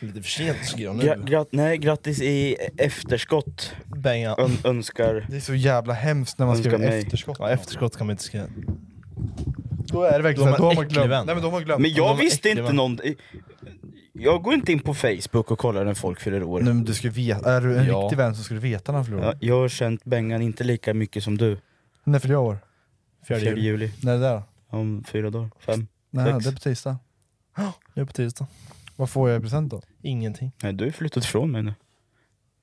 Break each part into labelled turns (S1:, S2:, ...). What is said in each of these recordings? S1: Lite för sent skriver jag
S2: Gra-
S1: nu.
S2: gra- nej, grattis i efterskott.
S1: Bengan.
S2: Ön- önskar...
S3: Det är så jävla hemskt när man
S2: Önskar
S3: skriver
S2: mig.
S3: efterskott.
S1: Ja, efterskott kan man inte skriva.
S3: Då är det verkligen
S1: Då
S3: så här, då
S1: har man
S3: har man glömt.
S1: äcklig vän.
S3: Nej, men då har man glömt.
S2: Men
S3: De
S2: jag
S3: har
S2: visste
S3: äcklig
S2: inte
S3: vän.
S2: någon... Jag går inte in på Facebook och kollar när folk fyller år.
S3: Nej, men du ska veta, är du en
S1: Ja.
S3: riktig vän så ska du veta när han förlorar.
S2: Ja, jag har känt Bengan inte lika mycket som du.
S3: När fyller jag år?
S1: Fjärde
S2: 4
S1: juli.
S2: juli.
S3: När är det där?
S2: Om fyra dagar. Fem.
S3: Nej,
S2: Sex.
S3: det är på tisdag.
S1: Det är på tisdag.
S3: Vad får jag i present då?
S1: Ingenting.
S2: Nej, du har flyttat ifrån mig nu.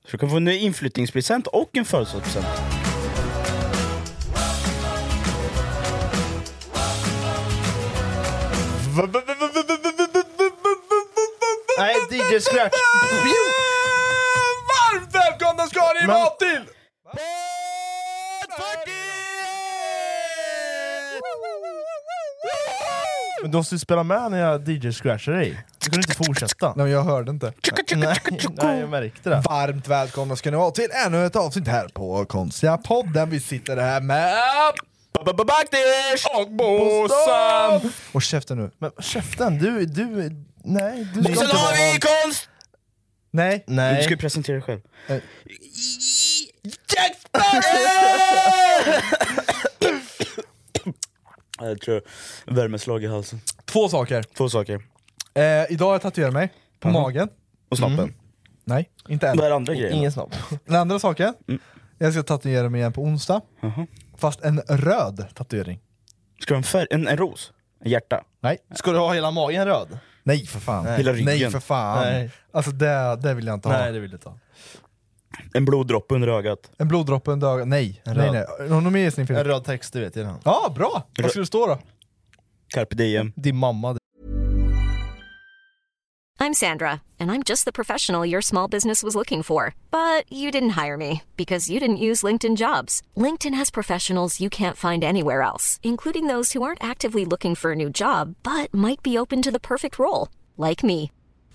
S2: Så du kan få en inflyttningspresent och en födelsedagspresent.
S1: Nej, DJ Scratch! Varmt välkomna ska ni
S3: Men-
S1: vara till! Men du måste ju spela med när jag DJ-scratchar dig. Du kan inte fortsätta.
S3: Nej, men jag hörde inte.
S1: Nej, nej, jag märkte det.
S3: Varmt välkomna ska ni vara till ännu ett avsnitt här på Konstiga podden. Vi sitter här med...
S1: Baktish! Och Bosan!
S3: Och käften nu.
S1: Men käften, du, du, nej. Du
S3: Bosan har
S1: vara-
S3: vi
S2: konst!
S3: Nej. Eh.
S2: Du
S1: Nej.
S2: ska ju presentera dig själv.
S3: Nej.
S2: Jack Sparrow! Jag tror värmeslag i halsen.
S3: Två saker.
S2: Två saker.
S3: Eh, idag har jag tatuerat mig. På
S2: Mm.
S3: magen.
S2: Och snoppen.
S3: Mm. Nej, inte än.
S2: Vad är det andra grejen?
S1: Ingen snabb.
S3: Den andra saken. Jag ska tatuera mig igen på onsdag.
S2: Jaha.
S3: Fast en röd tatuering.
S2: Ska du ha en färg? En, en ros? En hjärta?
S3: Nej.
S1: Ska du ha hela magen röd?
S3: Nej för fan.
S2: Hela ryggen.
S3: Nej för fan.
S1: Nej.
S3: Alltså det, det vill jag inte ha.
S1: Nej, det vill du inte ha.
S2: En bloddroppe under ögat?
S3: En bloddroppe, en dag. Nej.
S1: En
S3: nej,
S1: röd.
S3: nej. Har du någon mer gissning
S1: En
S3: Filip?
S1: röd text, du vet. i den här.
S3: Ja, bra! Vad ska det stå då?
S2: Carpe diem?
S1: Din mamma.
S4: I'm Sandra, and I'm just the professional your small business was looking for. But you didn't hire me because you didn't use LinkedIn jobs. LinkedIn has professionals you can't find anywhere else, including those who aren't actively looking for a new job but might be open to the perfect role, like me.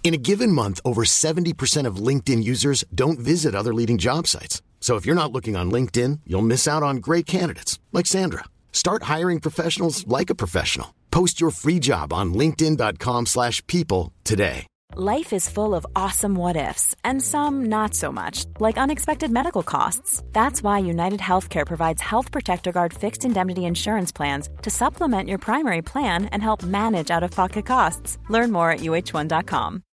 S5: In a given month, over 70% of LinkedIn users don't visit other leading job sites. So if you're not looking on LinkedIn, you'll miss out on great candidates like Sandra. Start hiring professionals like a professional. Post your free job on linkedin.com/people slash people today.
S6: Life is full of awesome what ifs, and some not so much, like unexpected medical costs. That's why United Healthcare provides Health Protector Guard fixed indemnity insurance plans to supplement your primary plan and help manage out of pocket costs. Learn more at uh1.com.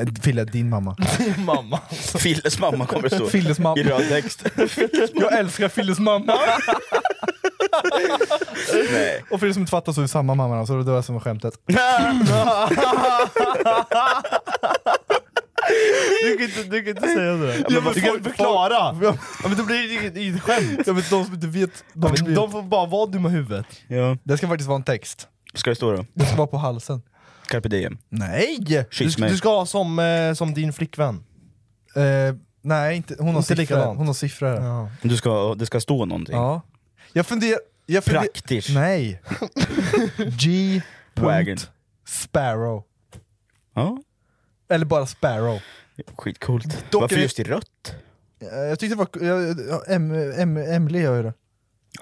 S3: Eh, Fille, din mamma.
S1: Din mamma.
S2: Filles mamma kommer att stå
S3: Filles mamma.
S2: i röd text.
S3: Jag älskar Filles mamma!
S2: Nej.
S3: Och för er som inte fattar så är vi samma mamma, så det var det som var skämtet.
S1: Du kan inte, du kan inte säga det.
S3: men
S1: du
S3: folk-
S1: kan förklara.
S3: Ja,
S1: Ja, men då blir det ju inget- inget skämt.
S3: men de som inte vet,
S1: Ja,
S3: de
S1: men
S3: vet.
S1: De får bara vara dumma i huvudet.
S2: Ja.
S3: Det ska faktiskt vara en text.
S2: Ska det stå då?
S3: Det ska vara på halsen.
S2: Carpe diem?
S3: Nej!
S1: Du,
S2: Kyss
S1: ska-
S2: mig.
S1: du ska ha som, eh, som din flickvän.
S3: Eh, nej, inte, hon, har
S1: Inte
S3: siffror.
S1: likadant.
S3: hon har siffror. här.
S1: Ja.
S2: Du ska, det ska stå någonting?
S3: Ja. Jag funderar... Jag funder-
S2: Praktiskt.
S3: Nej. G.
S2: Wagon.
S3: Sparrow.
S2: Ja.
S3: Eller bara Sparrow.
S2: Skitcoolt.
S3: Dock
S2: Varför
S3: är det-
S2: just i rött?
S3: Eh, Jag tyckte det var... Jag, jag, em, em, Emily E gör ju det.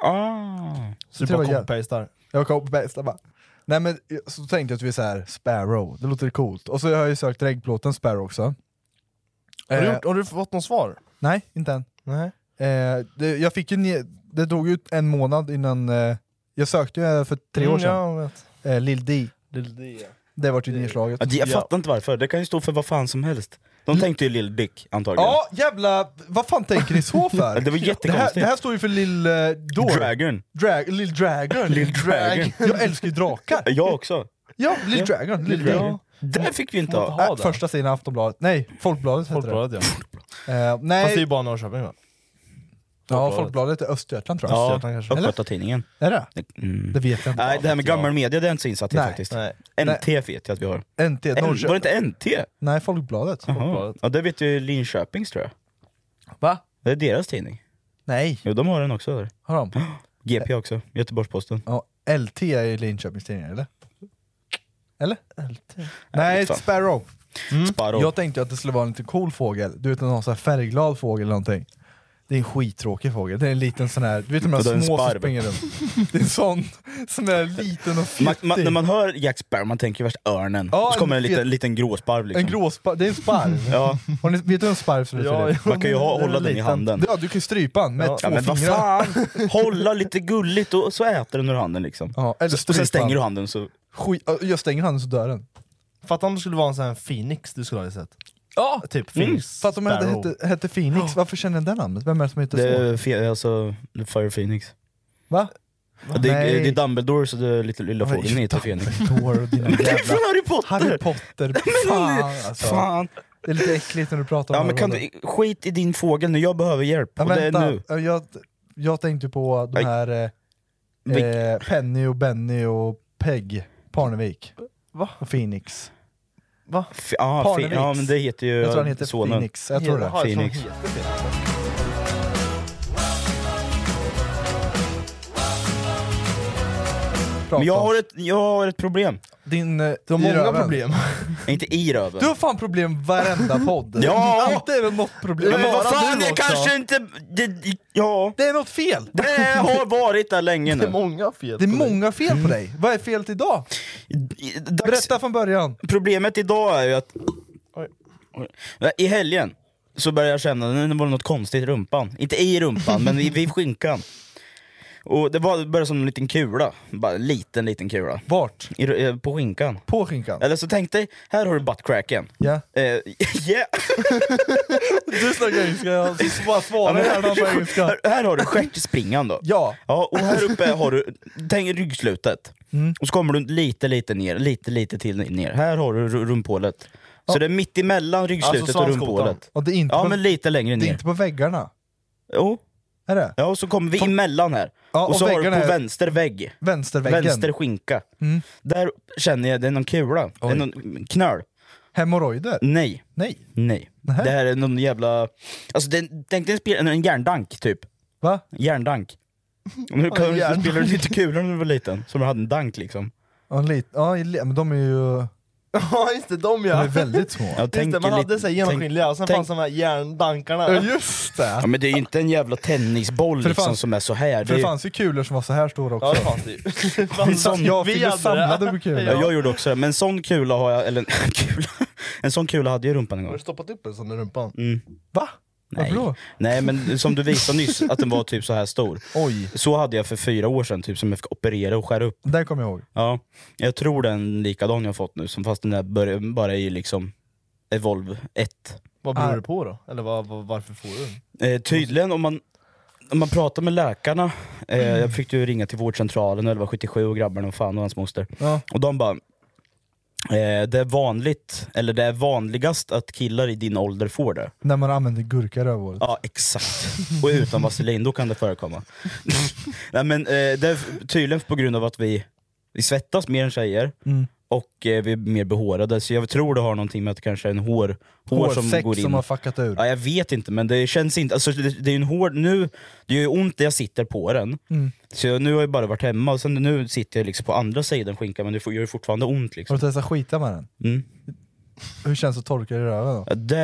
S2: Ah.
S1: Så du
S3: tror
S1: bara
S3: jag-
S1: copy-pastar.
S3: Jag kom på bästa bara. Nej men eh, så tänkte jag att vi är så här Sparrow, det låter coolt. Och så har jag ju sökt reggplåten Sparrow också.
S1: Har, du
S3: Eh,
S1: gjort- har du fått något svar?
S3: Nej, inte än.
S1: Nej.
S3: Eh, det, jag fick ju ne- det tog ju en månad innan, eh, jag sökte ju eh, för tre år sedan,
S1: Mm, Ja, jag vet.
S3: eh, Lil D.
S1: Det är det.
S3: Det vart ju nedslaget.
S2: Ja, det- Jag
S1: Ja.
S2: fattar inte varför, det kan ju stå för vad fan som helst. De tänkte ju Lil Dick antagligen.
S3: Mm. Ja, jävla... Vad fan tänker ni så för?
S2: Det var
S3: det, här,
S2: jättekonstigt.
S3: det här står ju för Lil eh, Door.
S2: Dragon.
S3: Drag, Lil Dragon.
S2: Lil Dragon.
S3: Jag älskar ju drakar.
S2: Jag också.
S3: Ja, Lil Dragon. Lil Dragon.
S2: Det fick vi inte ha.
S3: Ja, äh, första sidan av Aftonbladet. Nej, Folkbladet heter
S1: Folkbladet ja. Fast
S3: det. Eh,
S1: det är
S3: nej,
S1: ju bara Norrköping va?
S3: ja, Folkbladet är Östergötland tror jag.
S2: Ja,
S1: Östergötland kanske. mm.
S2: Östgötatidningen.
S3: Är det? Det vet jag inte.
S2: Nej, det här med gammal media det är jag inte så insatt i
S3: Nej,
S2: faktiskt.
S1: nej.
S2: NT vet jag att vi har.
S3: NT,
S2: N- Var
S3: Norrköping.
S2: det inte NT?
S3: Nej, Folkbladet.
S2: Jaha. Ja, det vet ju Linköpings tror jag.
S3: Va?
S2: Det är deras tidning.
S3: Nej,
S2: Jo, de har den också där.
S3: har de?
S2: GP också, Göteborgs-Posten.
S3: Ja, LT är ju Linköpings tidning, eller? Eller? LT. Nej,
S2: fan.
S3: Sparrow.
S2: Sparrow.
S3: Mm. Jag tänkte att det skulle vara en lite cool fågel, du vet någon sån här färgglad fågel eller någonting. Det är en skittråkig fågel, det är en liten sån här, du vet de här
S2: Och det är en
S3: små som
S2: sparv.
S3: springer runt. Det är en sån som är liten och
S2: Man,
S3: fjuttig.
S2: man, när man hör Jack Sparrow, man tänker värst örnen.
S3: Ja,
S2: och så kommer
S3: en
S2: en liten,
S3: fet-
S2: liten gråsparv liksom.
S3: En gråsparv, det är en sparv.
S2: Ja.
S3: Har ni, vet du hur en sparv ser ut?
S1: Ja,
S3: Filip?
S1: ja.
S2: Man kan ju ha,
S1: Den är
S2: hålla den i
S1: liten.
S2: handen.
S3: ja, du kan ju strypa den med
S1: Ja.
S3: två
S2: Ja, men vad
S3: fingrar.
S2: fan! Hålla lite gulligt och så äter den ur handen liksom.
S3: Ja, eller
S2: och sen
S3: strypa
S2: stänger
S3: den.
S2: du handen så...
S3: Skit, jag stänger handen så dör den.
S1: Fatta om det skulle vara en sån här Phoenix du skulle ha sett.
S3: Ja!
S1: Typ Phoenix.
S3: För att de hade,
S1: Sparrow.
S3: hette, hette Phoenix, varför känner den det namnet? Vem är det som heter
S2: Det
S3: så?
S2: är fe- alltså, the Fire Phoenix.
S3: Va?
S2: Ja, Det är,
S3: Nej.
S2: det är Dumbledore så det är lite lilla
S3: Men
S2: fågeln heter Phoenix.
S3: Dumbledore och dina
S2: Men det är
S3: jävla
S2: från Harry Potter!
S3: Harry Potter, fan alltså.
S2: Fan!
S3: Det är lite äckligt när du pratar om
S2: Ja
S3: Harry
S2: men kan
S3: Potter.
S2: du, skit i din fågel nu, jag behöver hjälp.
S3: Ja,
S2: och det är
S3: vänta,
S2: nu.
S3: Ja, jag, jag tänkte på de
S2: Aj.
S3: här eh,
S2: Vil-
S3: eh, Penny och Benny och Peg Parnevik. Va? Och Phoenix. Va?
S2: F- ah, fi-
S3: Parneviks.
S2: ja men det heter ju
S3: Jag tror han heter
S2: sonen.
S3: Phoenix. Jag tror det.
S1: Jaha, jag tror
S2: Phoenix.
S1: hon heter det.
S3: Prata
S2: Men jag
S3: om.
S2: har ett, jag har ett problem.
S3: Din, eh,
S1: De har
S3: i
S1: många
S3: röven.
S1: problem.
S2: Inte i röven.
S3: Du har fan problem varenda podd.
S2: Ja!
S3: Alltid är det något problem.
S2: men vad
S3: Bara
S2: fan,
S3: du
S2: jag
S3: också.
S2: kanske inte... Det, ja.
S3: Det är något fel!
S2: Det har varit där länge
S1: Det är
S2: nu.
S1: många fel
S3: Det är
S1: på dig.
S3: många fel på dig. Vad är felet idag?
S2: Dags,
S3: Berätta från början.
S2: Problemet idag är ju att...
S1: Oj.
S2: Oj. I helgen så började jag känna, nu var det något konstigt i rumpan. Inte i rumpan, men i- vid skinkan. Och det var, det började som en liten kula. Bara en liten, liten kula.
S3: Vart?
S2: I, ru- eh, på skinkan.
S3: På skinkan?
S2: Eller så tänkte jag, här har du buttcracken.
S3: Ja.
S2: Eh, yeah.
S3: Du snackar engelska, jag bara svarar gärna på engelska.
S2: här, här har du stjärtspringan då.
S3: Ja.
S2: Ja, och här uppe har du, tänk ryggslutet.
S3: Mm.
S2: Och så kommer du lite, lite ner, lite, lite till ner. Här har du ru- rumphålet. Så det är mitt emellan ryggslutet
S1: Alltså
S2: och
S1: svanskotan.
S2: rumphålet.
S3: Och det är inte,
S2: Ja,
S3: på,
S2: men lite längre
S3: det är
S2: ner.
S3: inte på väggarna.
S2: Jo.
S3: Är det?
S2: Ja, och så kommer vi emellan här.
S3: Ja,
S2: och,
S3: och
S2: så har du på
S3: väggarna är-
S2: vänster vägg,
S3: Vänsterväggen. Mm.
S2: vänster skinka. Där känner jag, det är någon kula. Det är någon knöl.
S3: Hemorrojder?
S2: Nej,
S3: Nej.
S2: nej.
S3: Nähä.
S2: Det här är någon jävla... Alltså det, tänk dig en, spel, en järndank typ.
S3: Va?
S2: Järndank. Nu kan du
S3: järndank.
S2: spelade du lite kulor när du var liten, som du hade en dank liksom.
S3: Ja, en lit, ja, i li- men de är ju
S1: Ja just det, de
S3: de
S1: ja.
S3: är väldigt små.
S2: Jag
S3: ja,
S1: Just det,
S2: tänker
S1: man hade
S2: lite-
S1: såhär genomskinliga, och sen
S2: tänk-
S1: fanns de här järndankarna.
S3: just
S2: Ja
S3: det!
S2: men det är ju inte en jävla tennisboll
S3: För det
S2: liksom
S3: fanns-
S2: som är så här.
S3: För
S2: Det är,
S3: det fanns ju kulor som var så här stora
S1: Ja
S3: också.
S1: det fanns det ju. Det
S3: Vi
S1: fanns-
S3: sam- jag fick ju
S1: hade det.
S3: samla dem med kulor.
S2: ja.
S1: Ja.
S2: Jag gjorde också det, men en sån kula har jag, eller en kula, en sån kula hade jag i rumpan en
S1: Har
S2: gång.
S1: du stoppat upp en sån i rumpan?
S2: Mm.
S3: Va?
S2: Nej.
S3: Varför då?
S2: Nej men som du visade nyss, att den var typ så här stor.
S3: Oj,
S2: Så hade jag för fyra år sedan, typ som jag fick operera och skära upp.
S3: där kommer jag ihåg.
S2: Ja, jag tror den likadan jag fått nu, som fast den där bör- bara är liksom Evolve 1.
S1: Vad beror det på då? Eller vad, vad, varför får du den?
S2: Eh, tydligen om man, om man pratar med läkarna, eh,
S3: Mm.
S2: jag fick ju ringa till vårdcentralen, eller var 77 och grabbarna och fan och hans moster.
S3: Ja.
S2: Och de bara, eh, det är vanligt, eller det är vanligast att killar i din ålder får det.
S3: När man använder gurka i rövhålet.
S2: Ja, exakt. Och utan vaselin, då kan det förekomma. Nej, men, eh, det är tydligen på grund av att vi, vi svettas mer än tjejer,
S3: Mm.
S2: och eh, vi är mer behårade. Så jag tror det har någonting med att det kanske är en hår, hår, som
S3: Hårsäck
S2: går in.
S3: som har fuckat ur.
S2: Ja, jag vet inte, men det känns inte... Alltså, det, det är ju en hård... Nu, det gör ju ont när jag sitter på den.
S3: Mm.
S2: Så jag, nu har jag bara varit hemma, och sen nu sitter jag liksom på andra sidan skinkan, men det får- gör ju fortfarande ont.
S3: Har
S2: Liksom.
S3: du testat skita med den?
S2: Mm.
S3: Hur känns det att torka i röven då?
S2: Ja, Det,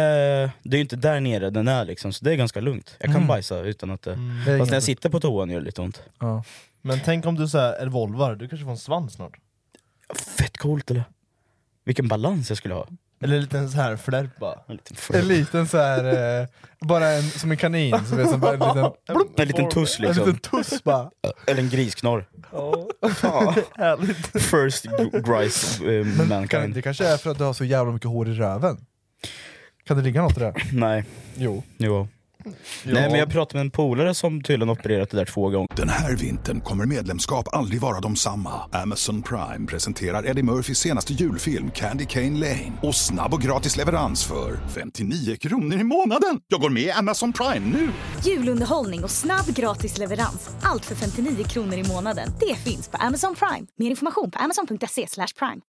S2: det är ju inte där nere den är, liksom, så det är ganska lugnt. Jag kan
S3: Mm.
S2: bajsa utan att det...
S3: Det är
S2: Fast när
S3: inget-
S2: jag sitter på toan gör det lite ont.
S3: ja.
S1: Men tänk om du såhär evolvar, du kanske får en svans snart?
S2: Fett coolt eller? Vilken balans jag skulle ha.
S3: Mm.
S1: Eller en liten så här flärp bara.
S2: En liten,
S3: En liten så här, eh, bara en, som en kanin, som är som bara en liten,
S1: Blup!
S2: en liten tuss
S3: en
S2: liksom.
S3: liten tuss bara.
S2: Eller en grisknorr.
S1: Härligt.
S2: First gr- grice eh,
S3: Men kan,
S2: mankind.
S3: det kanske är för att du har så jävla mycket hår i röven? Kan det ligga något i det?
S2: Nej,
S3: Jo.
S2: jo. Nej men jag pratade med en polare som tydligen opererat det där två gånger.
S7: Den här vintern kommer medlemskap aldrig vara de samma. Amazon Prime presenterar Eddie Murphys senaste julfilm Candy Cane Lane. Och snabb och gratis leverans för 59 kronor i månaden. Jag går med i Amazon Prime nu!
S8: Julunderhållning och snabb gratis leverans. Allt för 59 kronor i månaden. Det finns på Amazon Prime. Mer information på amazon.se slash prime.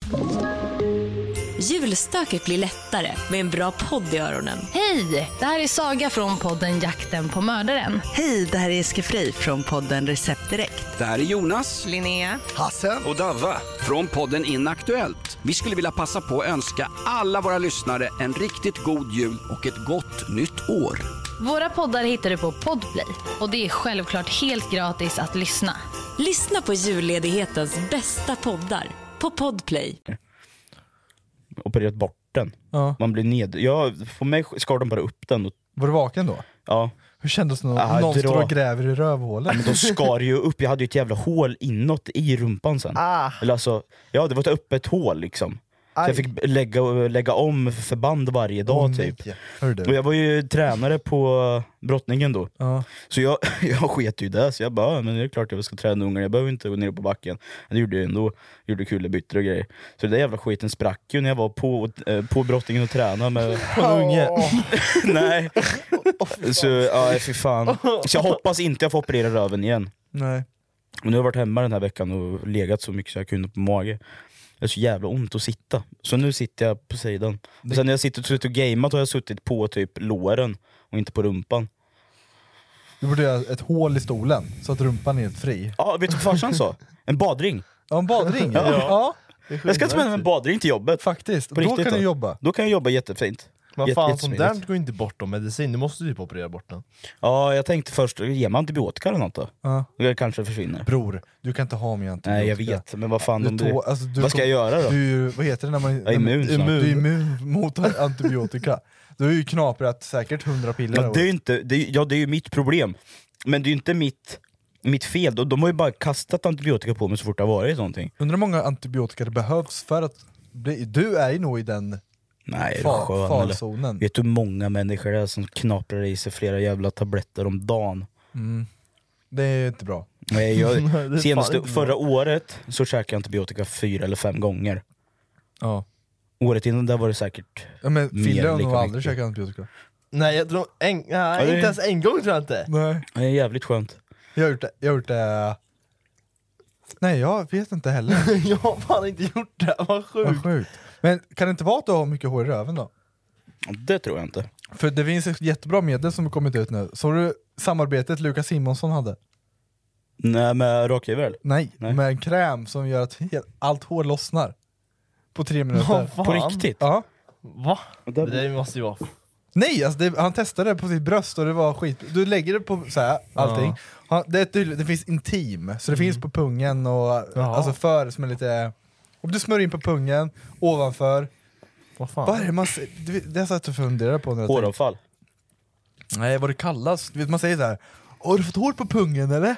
S9: Julstöket blir lättare med en bra podd i öronen.
S10: Hej! Det här är Saga från podden Jakten på mördaren.
S11: Hej, det här är Eske Frey från podden Recept Direkt.
S12: Det här är Jonas
S11: Linnea.
S12: Hasse och Davva från podden Inaktuellt. Vi skulle vilja passa på att önska alla våra lyssnare en riktigt god jul och ett gott nytt år.
S10: Våra poddar hittar du på Podplay och det är självklart helt gratis att lyssna.
S9: Lyssna på julledighetens bästa poddar på Podplay.
S2: Opererat bort den.
S3: Ja.
S2: Man blir ned... Ja, för mig skar de bara upp den. Och,
S3: Var du vaken då?
S2: ja.
S3: Hur kändes det
S2: Ah,
S3: när någon står
S2: dra.
S3: och gräver i
S2: ja,
S3: rövhålet?
S2: men de skar ju upp. Jag hade ju ett jävla hål inåt i rumpan sen.
S1: Ah.
S2: Eller alltså, ja det var ett öppet hål liksom. Så
S1: Aj.
S2: jag fick lägga, lägga om förband varje dag typ.
S3: Hör
S2: Och
S3: du?
S2: jag var ju tränare på brottningen då.
S3: Ja.
S2: Så jag, jag sket ju i det, så jag bara, "Ja, men det är klart jag ska träna ungar, jag behöver inte gå ner på backen. Men det gjorde jag ändå, gjorde kullerbyttor och grejer. Så den där jävla skiten sprack ju när jag var på, eh, på brottningen och tränade med...
S3: På en unge.
S2: Nej. Så, ja fy fan. Så jag hoppas inte jag får operera röven igen.
S3: Nej.
S2: Men nu har jag varit hemma den här veckan och legat så mycket så jag kunde på mage. Det är så jävla ont att sitta. Så nu sitter jag på sidan. Och sen när jag sitter och suttit och gameat har jag suttit på typ låren och inte på rumpan.
S3: Du borde göra ett hål i stolen så att rumpan är helt fri.
S2: Ja, vet du vad farsan sa? En badring.
S3: Ja, en badring. ja.
S2: Jag ska ta med mig en badring till jobbet.
S3: faktiskt.
S2: På
S3: Då
S2: riktigt
S3: kan
S2: då.
S3: du jobba.
S2: Då kan jag jobba jättefint.
S1: Men
S2: Jätte-
S1: fan, sånt
S2: jättesmidigt.
S1: där går ju inte bort om medicin. Du måste typ operera bort den.
S2: Ja, jag tänkte först, ge mig antibiotika eller något då.
S3: Ja.
S2: Det kanske försvinner.
S3: Bror, du kan inte ha mig antibiotika.
S2: Nej jag vet, men vad fan om
S3: Du
S2: du...
S3: tå, alltså du
S2: Vad ska jag göra då?
S3: Du är ju- vad heter det när man
S2: är immun snart.
S3: Du är immun mot antibiotika. Du har ju knaprat säkert 100 piller.
S2: Men det är ju inte, det är, ja det är ju mitt problem. Men det är ju inte mitt, mitt fel. De, de har ju bara kastat antibiotika på mig så fort det har varit någonting.
S3: Undrar hur många antibiotika det behövs för att bli, Du är ju nog i den
S2: Nej, är du
S3: far,
S2: skön eller?
S3: farzonen.
S2: Vet du hur många människor det är som knaprar i sig flera jävla tabletter om dagen?
S3: Det är inte bra.
S2: Nej,
S1: fan
S2: jag, senaste,
S1: inte bra.
S2: förra året så käkade jag antibiotika fyra eller fem gånger.
S3: Ja.
S2: Året innan där var det säkert...
S3: Ja, men
S2: Mer
S3: Fille har
S2: lika
S3: nog aldrig
S2: mycket.
S3: käkat antibiotika.
S1: Nej, jag tror en, nej,
S2: det-
S1: inte ens en gång tror jag inte.
S3: Nej.
S2: Det är jävligt skönt.
S3: Jag har gjort det. Jag har gjort det. Nej jag vet inte heller.
S1: jag har fan inte gjort det, vad
S3: Vad
S1: sjukt.
S3: sjukt. Men kan det inte vara att du har mycket hår i röven då?
S2: Det tror jag inte.
S3: För det finns ett jättebra medel som har kommit ut nu. Såg du samarbetet Lukas Simonsson hade?
S2: Nej, med rakhyvel?
S3: Nej,
S2: Nej.
S3: med en kräm som gör att helt, allt hår lossnar. På tre
S1: Vad
S3: minuter.
S1: fan?
S2: På riktigt?
S3: Ja.
S1: Va?
S2: där-
S1: Det där måste ju vara...
S3: Nej, alltså det, han testade det på sitt bröst och det var skit. Du lägger det på så här, allting. Han, det, är tydligt, det finns intim, så det finns på pungen och
S1: Jaha.
S3: alltså för som är lite... Om du smörjer in på pungen, ovanför.
S1: Vad fan?
S3: Vad är det man se- du vet, Det satt jag och funderade på. När jag tänkte-
S2: Håravfall?
S3: Nej, vad det kallas. Du vet, man säger så här. Har du fått hår på pungen eller?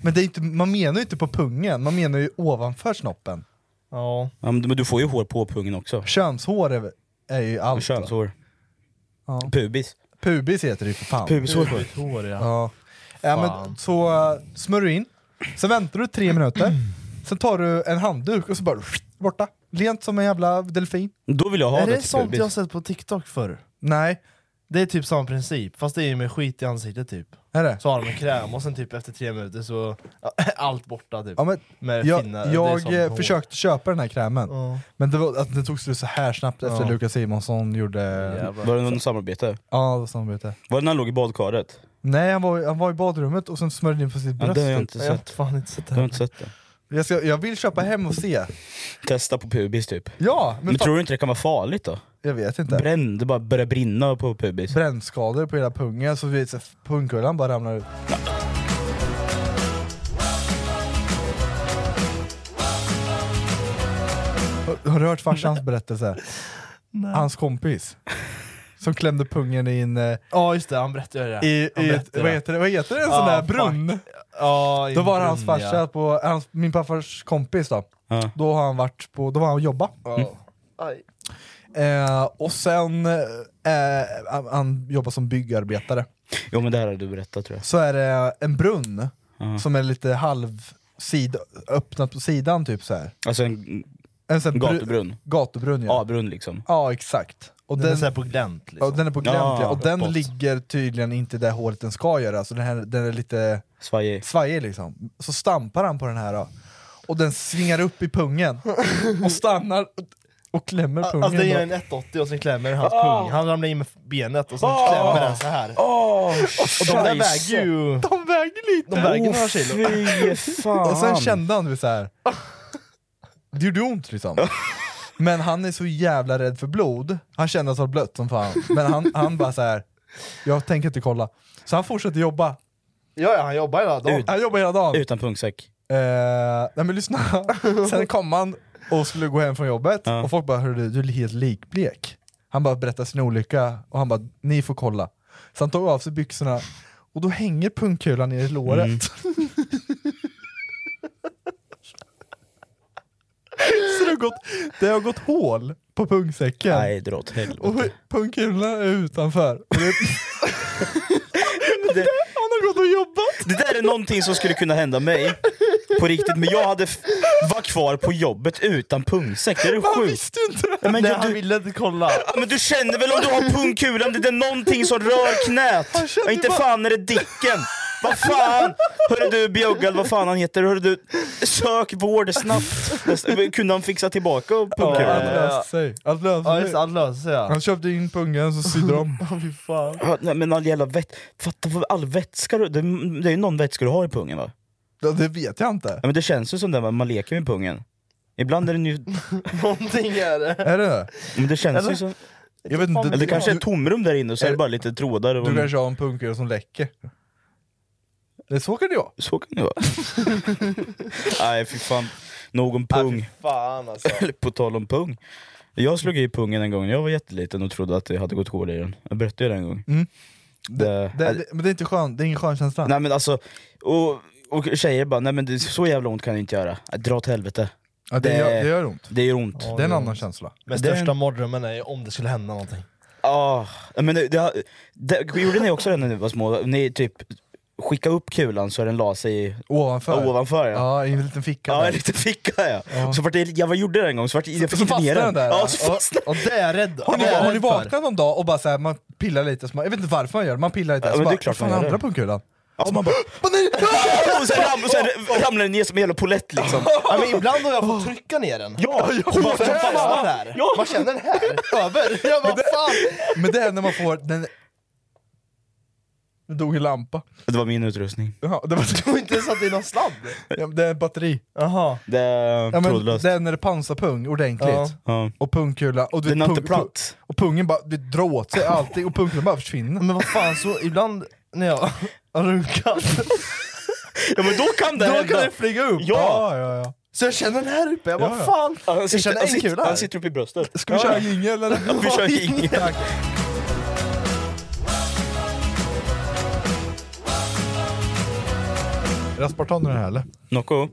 S3: Men det är inte, man menar ju inte på pungen, man menar ju ovanför snoppen.
S1: Ja.
S2: Ja, men du men du får ju hår på pungen också.
S3: Könshår är, är ju allt. va?
S2: Könshår.
S3: Ja.
S2: Pubis.
S3: Pubis heter det ju för fan.
S2: Pubishår.
S1: Mitt hår ja.
S3: Ja. ja men,
S1: Fan.
S3: så äh, smörjer du in, sen väntar du tre minuter, sen tar du en handduk och så bara borta. Lent som en jävla delfin.
S2: Då vill jag ha
S1: är det
S2: till
S1: sånt
S2: pubis.
S1: jag har sett på TikTok förr?
S3: Nej,
S1: Det är typ samma princip, fast det är ju med skit i ansiktet typ.
S3: är det?
S1: Så har de en kräm och sen typ efter tre minuter så är allt borta typ.
S3: Ja, men,
S1: med
S3: jag
S1: finnar.
S3: jag
S1: det är sånt
S3: eh,
S1: hår.
S3: försökte köpa den här krämen,
S1: Ja.
S3: men det, var, att det tog slut så här snabbt efter
S1: Ja.
S3: Lukas Simonsson gjorde...
S1: Jävlar.
S2: Var det någon samarbete?
S3: Ja, det var samarbete.
S2: Var det när han låg i badkaret?
S3: Nej, han var, han var i badrummet och sen smörjde in på sitt
S2: Ja,
S3: bröst.
S2: det har jag
S3: typ.
S2: inte
S1: Jag har
S2: sett.
S1: fan inte sett
S2: Det
S1: det.
S2: har jag inte sett det.
S3: jag, ska, jag vill köpa hem och se.
S2: Testa på pubis typ.
S3: Ja, men,
S2: Men
S3: fan,
S2: tror du inte det kan vara farligt då?
S3: jag vet inte.
S2: Bränn, det bara börjar brinna på pubis.
S3: Brännskador på hela pungen, så, vi, så pungkullan bara ramlar ut. Har, har du hört farsans berättelse? Hans kompis. Som klämde pungen i en... eh,
S1: Ja just det, han berättade ju det.
S3: I, i
S1: Han
S3: ett,
S1: berättade
S3: vad,
S1: det.
S3: heter det, vad heter det? En
S1: Ah,
S3: sån där
S1: fuck.
S3: brunn?
S1: Ja, i
S3: Då var
S1: en
S3: det hans
S1: brunn,
S3: farsa, på, hans, min pappars kompis då.
S2: Ja.
S3: Mm. Då har han varit på, då var han och jobba.
S1: Ja. Aj.
S3: Eh, och sen, eh, han, han jobbar som byggarbetare.
S2: Jo men det här har du berättat tror jag.
S3: Så är det en brunn som är lite halv sid, öppnad på sidan typ så här.
S2: Alltså en,
S3: En sån här bru-
S2: gatubrunn.
S3: Gatubrunn ja.
S2: A-brunn liksom.
S3: Ja exakt. Och
S1: Den är så här på glänt, liksom.
S3: Ja, den är på glänt
S1: Ja,
S3: ja, och den
S1: uppåt.
S3: ligger tydligen inte där håret den ska göra, så den, här, den är lite
S2: svajig.
S3: liksom. Så stampar han på den här då. och den svingar upp i pungen och stannar och- och klämmer pungen.
S1: Alltså den gör
S3: då.
S1: en 180 och sen klämmer hans
S3: Ah.
S1: pung. Han ramlar in med benet och sen
S3: Ah.
S1: klämmer den så här. och de där väger ju...
S3: De väger lite!
S1: De väger några kilo.
S3: Och sen kände han det så här. det gjorde ont liksom. Men han är så jävla rädd för blod, han kände att det var blött som fan. Men han, han bara så här. jag tänker inte kolla. Så han fortsätter jobba.
S1: Ja, ja, han jobbar hela dagen.
S3: Han jobbar hela dagen.
S2: Utan pungsäck.
S3: Eh, nej men lyssna, sen kom han och skulle gå hem från jobbet och folk bara hörru du, du är helt likblek. Han bara berättar sin olycka och han bara ni får kolla. Så han tog av sig byxorna och då hänger pungkulan ner i låret.
S2: Mm.
S3: Så det har, gått, det har gått hål på pungsäcken.
S2: Nej dra åt helvete.
S3: Och pungkulorna är utanför. Och det,
S2: Det,
S3: han har gått och jobbat!
S2: det där är någonting som skulle kunna hända mig. På riktigt, men jag hade f- var kvar på jobbet utan pungsäck. Det är det
S3: Men han
S2: sjukt.
S3: visste ju inte!
S2: Ja, men
S1: Nej,
S2: jag-
S1: han
S2: du-
S1: ville inte kolla.
S2: Ja, men du känner väl om du har pungkulan, det är någonting som rör knät. Ja, inte fan är det Dicken. Vad fan! Hörru du Bjuggad, vad fan han heter, hörru du, sök vård snabbt. Nästa- Kunde han fixa tillbaka
S3: Allt
S2: pungkulan?
S3: löste sig. Allt
S1: Ja,
S3: löste
S1: just
S3: sig.
S1: det, allt löser sig ja.
S3: Han köpte in pungen så sydde de.
S1: Fy fan.
S2: Ja, nej, Men all jävla vett... Fatta vad all vätska du... Det, det är ju någon vätska du har i pungen va?
S3: Ja, det vet jag inte.
S2: Ja, men det känns ju som det, va? man leker med pungen. Ibland är den ju...
S1: Någonting är det.
S3: Är det det?
S2: Men det känns ju
S1: Eller-
S2: som...
S3: Jag vet inte.
S2: Eller det kanske är
S3: du,
S2: ett tomrum där inne och så är det
S3: Eller-
S2: bara lite trådar. Och...
S3: du kanske har en punkare som läcker. Det så kan det vara.
S2: Så kan det vara. nej fy fan. Någon
S1: Fy
S2: pung.
S1: fan alltså.
S2: Eller på tal om pung. Jag slog i pungen en gång när jag var jätteliten och trodde att det hade gått hål i den. Jag berättade ju det en gång.
S3: Mm.
S2: Det,
S3: Det, det, men det är inte skön, det är ingen skön känsla.
S2: Nej men alltså, och, och tjejer bara, nej men det, så jävla ont kan det inte göra. Äh, Dra åt helvete.
S3: ja, det, gör, det gör ont.
S2: Det gör ont.
S3: det är en annan känsla.
S1: Men
S2: Det är
S1: största mardrömmen är ju om det skulle hända någonting.
S2: Ah, men det, det, det, gjorde ni också det när ni var små? Ni typ skicka upp kulan så den la sig i-
S3: Ovanför.
S2: ovanför ja.
S3: Ja, i en liten ficka.
S2: Ja,
S3: där.
S2: en liten ficka ja.
S3: Ja.
S2: Så vart det, jag var- gjorde det en gång, så vart det, jag fick
S3: så
S2: inte ner
S3: fastnar
S2: den.
S3: den där.
S2: ja,
S3: ja.
S2: så fastnade
S1: Och det är jag rädd
S3: Har ni,
S1: det är jag
S3: har ni
S1: rädd för.
S3: vaknat någon dag och bara så här, man pillar lite, så man, jag vet inte varför man gör det, man pillar lite,
S2: Ja,
S3: så
S2: men
S3: bara,
S2: det är klart
S3: fan
S2: man gör
S3: andra
S2: det."
S3: pungkulan?
S2: ja, man bara...
S3: Åh, nej!
S2: Och sen, ram, och sen ramlade den ner som en jävla polett liksom.
S1: Ja, men ibland har jag fått trycka ner den.
S2: Ja, ja,
S1: Och bara den fastnar där.
S2: Ja.
S1: Man känner den här, över. Jag bara fan.
S3: Men det är när man får den... Det dog en lampa.
S2: Det var min utrustning.
S3: Jaha, det, var,
S1: Du har inte ens satt i någon sladd.
S3: ja, det är ett batteri.
S1: Jaha.
S2: Det är
S3: Ja, men
S2: trådlöst.
S3: det är när det pansarpung ordentligt.
S1: Ja.
S2: Ja.
S3: och pungkula och du
S2: Den
S3: vet,
S2: har inte
S3: pung-
S2: plats.
S3: pu- Och pungen bara du drar åt sig allting och pungkulan bara försvinner.
S1: Men vad fan, så ibland när jag har runkat,
S2: Ja men då kan det
S1: då
S2: hända!
S1: kan den flyga upp.
S2: Ja!
S3: Ja, ja, ja.
S1: Så jag känner den här uppe, jag
S3: Ja,
S1: bara
S3: ja.
S1: fan.
S2: Han
S1: Jag
S2: sitter,
S1: känner
S2: han,
S1: en
S2: sitter,
S1: kula
S2: han
S1: här.
S2: sitter uppe i bröstet.
S3: Ska vi köra jingel eller?
S2: Ja, vi kör jingel.
S3: Tack. Raspartan är det här eller?
S2: Nocco,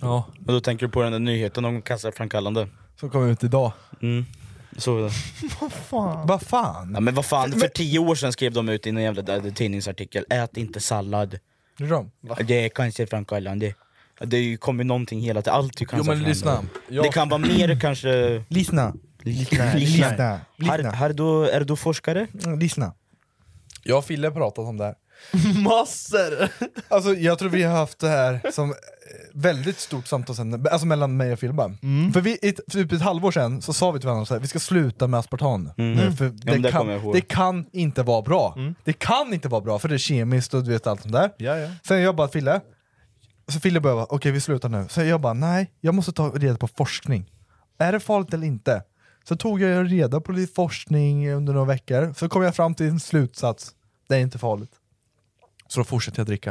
S3: Ja.
S2: och då tänker du på den där nyheten om cancerframkallande?
S3: Som kom ut idag.
S2: Mm. Så,
S3: Vad fan?
S2: ja, men vad fan, för tio år sedan skrev de ut i en jävla där- tidningsartikel, ät inte sallad.
S3: Det är dem.
S2: Det är cancerframkallande. Det kommer ju någonting hela tiden, allt är ju
S3: Jo men lyssna.
S2: cancerframkallande. Det kan vara mer kanske...
S3: Lyssna. Lyssna. Lyssna.
S2: Har,
S3: Lyssna.
S2: har du, är du forskare?
S3: Mm, Lyssna. Jag och Fille har pratat om det här.
S1: Massor!
S3: Alltså jag tror vi har haft det här som eh, väldigt stort samtalsämne, alltså mellan mig och Filba.
S2: Mm.
S3: För vi, i t- typ ett halvår sedan så sa vi till varandra så här, vi ska sluta med aspartan. Nu, För det,
S2: Mm. men det kommer jag
S3: kan,
S2: ihåg.
S3: det kan inte vara bra. Det kan inte vara bra för det är kemiskt och du vet allt sånt där.
S1: Mm. Ja, ja.
S3: Sen jag bara Fille, så Fille började bara okej vi slutar nu. Sen jag bara nej, jag måste ta reda på forskning. Är det farligt eller inte? Så tog jag reda på lite forskning under några veckor, så kom jag fram till en slutsats. Det är inte farligt. Så då fortsätter jag dricka.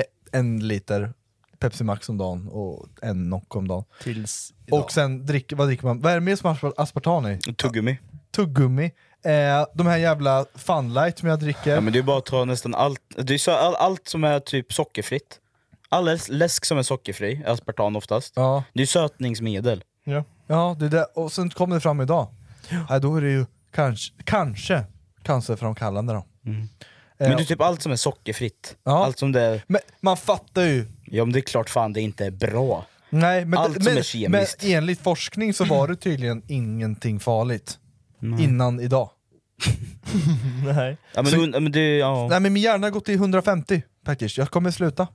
S3: E- En liter Pepsi Max om dagen och en Nocco om dagen.
S1: Tills
S3: Och sen, dricker, vad dricker man? Vad är det mer som aspar- aspartam i?
S2: Tuggummi?
S3: Tuggummi, eh, de här jävla Funlight som jag dricker.
S2: Ja men det är bara att ta nästan allt, det är så, all, allt som är typ sockerfritt. All läs- läsk som är sockerfri, aspartam oftast.
S3: ja.
S2: Det är sötningsmedel.
S3: Ja, det är det. och sen kom det fram idag. Ja, då är det ju kanske, kanske cancerframkallande då.
S2: Mm. Men
S3: Eh,
S2: du, typ allt som är sockerfritt.
S3: Ja.
S2: Allt som det är...
S3: Men man fattar ju.
S2: Ja men det är klart fan det inte är bra.
S3: Nej, men,
S2: allt som
S3: men,
S2: är kemiskt.
S3: men enligt forskning så var det tydligen ingenting farligt
S2: Nej.
S3: innan idag.
S1: Nej.
S2: Ja, men,
S3: Så-
S2: und- ja, men det, ja.
S3: Nej men min hjärna har gått till 150 faktiskt, jag kommer sluta.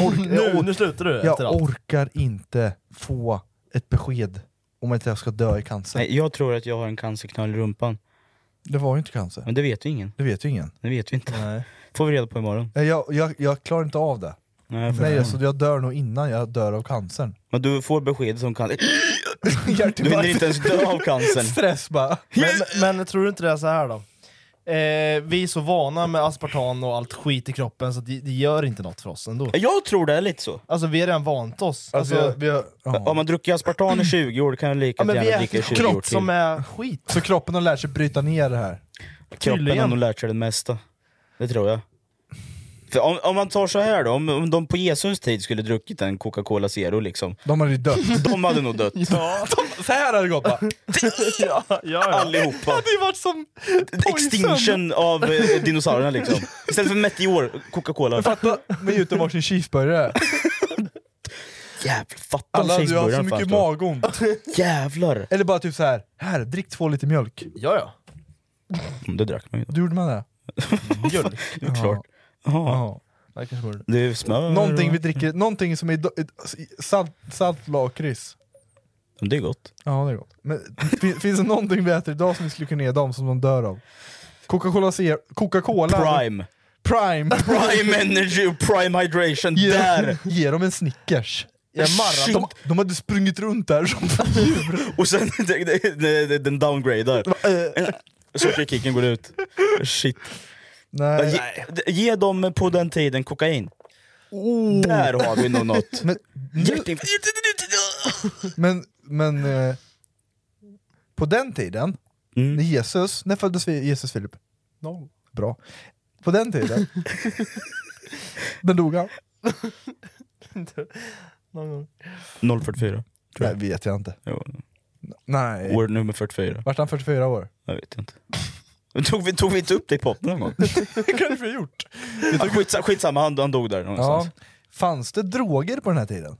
S3: ork- jag,
S1: nu,
S3: or-
S1: nu slutar du efter
S3: jag
S1: allt.
S3: orkar inte få ett besked om att jag ska dö i cancer.
S2: Nej, jag tror att jag har en cancerknöl i rumpan.
S3: Det var ju inte cancer,
S2: Men det vet ju ingen.
S3: det vet ju ingen.
S2: Det vet vi inte. Får vi reda på imorgon.
S3: Nej, Jag, jag, jag klarar inte av det.
S2: Nej, för
S3: Nej,
S2: fan.
S3: alltså, jag dör nog innan jag dör av cancern.
S2: Men du får besked som cancer.
S3: Hjärtinfarkt.
S2: Du hinner inte ens dö av cancern.
S3: Stress bara. Alltså,
S1: Men, men tror du inte det är så här då? Eh, vi är så vana med aspartam och allt skit i kroppen så det, det gör inte något för oss ändå.
S2: Jag tror det är lite så.
S1: Alltså vi har redan vant oss.
S3: Alltså,
S1: Alltså,
S3: jag, vi har,
S2: Om man druckit aspartam i 20 år kan jag lika
S1: ja, men vi
S2: gärna dricka i 20
S1: äter
S2: år
S1: kropp
S2: till.
S1: som är skit.
S3: Så kroppen har lärt sig bryta ner det här.
S2: Kroppen har
S1: Tydligen.
S2: nog lärt sig det mesta. Det tror jag. För om, om man tar så här då, om, om de på Jesus tid skulle druckit en Coca-Cola Zero liksom.
S3: De har ju dött.
S2: De hade nog dött.
S1: Ja,
S3: De, så här har det gått bara.
S1: ja, ja, ja.
S2: Allihopa.
S3: Det har varit som
S2: Extinction av eh, dinosaurierna liksom. Istället för meteor, Coca-Cola.
S3: Fatta, vi är ute och varsin cheeseburgare.
S2: Jävlar, fatta om
S3: Alla du har så
S2: cheeseburgaren
S3: mycket
S2: fanns då.
S3: magont.
S2: Jävlar!
S3: Eller bara typ så här. här drick två liter mjölk.
S1: ja, ja.
S2: Mm, Det drack man ju då.
S3: Då gjorde man det.
S1: Mjölk.
S2: Det är klart. Jaha.
S3: Ja.
S1: Nej, kanske borde.
S2: Det är smör
S3: Någonting
S2: och-
S3: vi dricker, någonting som är do- i- salt, salt lakrits.
S2: Mm, Det är gott.
S3: Ja det är gott. Men fin, finns det någonting vi äter idag som vi skulle kunna ge dem som de dör av? Coca-Cola ser, Coca-Cola
S2: Prime.
S3: Prime!
S2: Prime energy och prime hydration.
S3: Ge,
S2: Där!
S3: ge dem en Snickers.
S1: Jag är marrad.
S3: De, de hade sprungit runt där som
S2: Och sen den downgradar.
S3: eh.
S2: Sockerkicken går ut. Shit.
S3: Nej.
S2: Ge, ge dem på den tiden kokain. Där har vi nog något.
S3: Oh. Men,
S2: Hjärtinfarkt.
S3: men, men eh, på den tiden, när
S2: Mm.
S3: Jesus, när föddes vi, Jesus Filip?
S1: Noll.
S3: Bra. På den tiden, när dog han?
S1: Någon gång.
S2: 044.
S3: Det vet jag inte.
S2: Jo,
S3: Nej.
S2: År nummer 44.
S3: Vart han 44 år?
S2: Jag vet inte. Men Tog vi, tog vi inte upp det i podden någon gång?
S3: Det kanske vi har gjort.
S2: Ja, skitsa- Skitsamma, han, han dog där någonstans.
S3: Ja. Fanns det droger på den här tiden?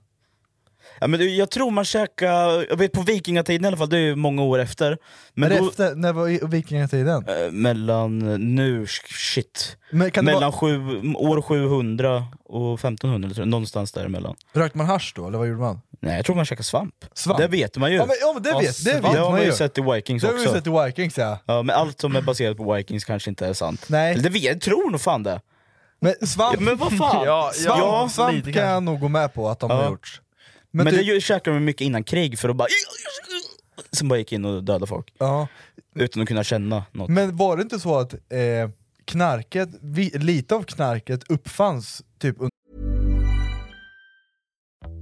S2: Ja, men det- jag tror man käkade, jag vet på vikingatiden i alla fall, det är ju många år efter. Men
S3: Men
S2: då,
S3: efter, när var i- vikingatiden?
S2: eh, mellan, eh, nu, sh- shit.
S3: Men kan det
S2: Mellan
S3: vara,
S2: sju, år 700 och 1500, tror jag, någonstans däremellan.
S3: rökte man hasch då, eller vad gjorde man?
S2: Nej, jag tror man käkade svamp.
S3: Svamp?
S2: Det vet man ju.
S3: Ja men, ja, men det
S1: Ja,
S3: vet, det
S1: svamp.
S3: vet
S2: det har
S3: man
S2: man ju
S3: ju.
S2: sett i Vikings
S3: Det har vi
S2: också.
S3: sett i Vikings ja.
S2: Ja, men allt som är baserat på Vikings kanske inte är sant.
S3: Nej.
S2: Eller det vet, jag tror nog fan det.
S3: Men svamp,
S2: Ja, men vad fan?
S1: Ja,
S3: svamp,
S2: ja,
S3: svamp
S1: lite
S3: kan
S1: kanske.
S3: jag nog gå med på att de har
S2: Ja.
S3: gjort.
S2: Men,
S3: Men, typ,
S2: det ju- käkade de mycket innan krig för att bara... Som bara gick in och dödade folk.
S3: ja.
S2: Utan att kunna känna något.
S3: men var det inte så att eh, knarket, vi, lite av knarket uppfanns typ under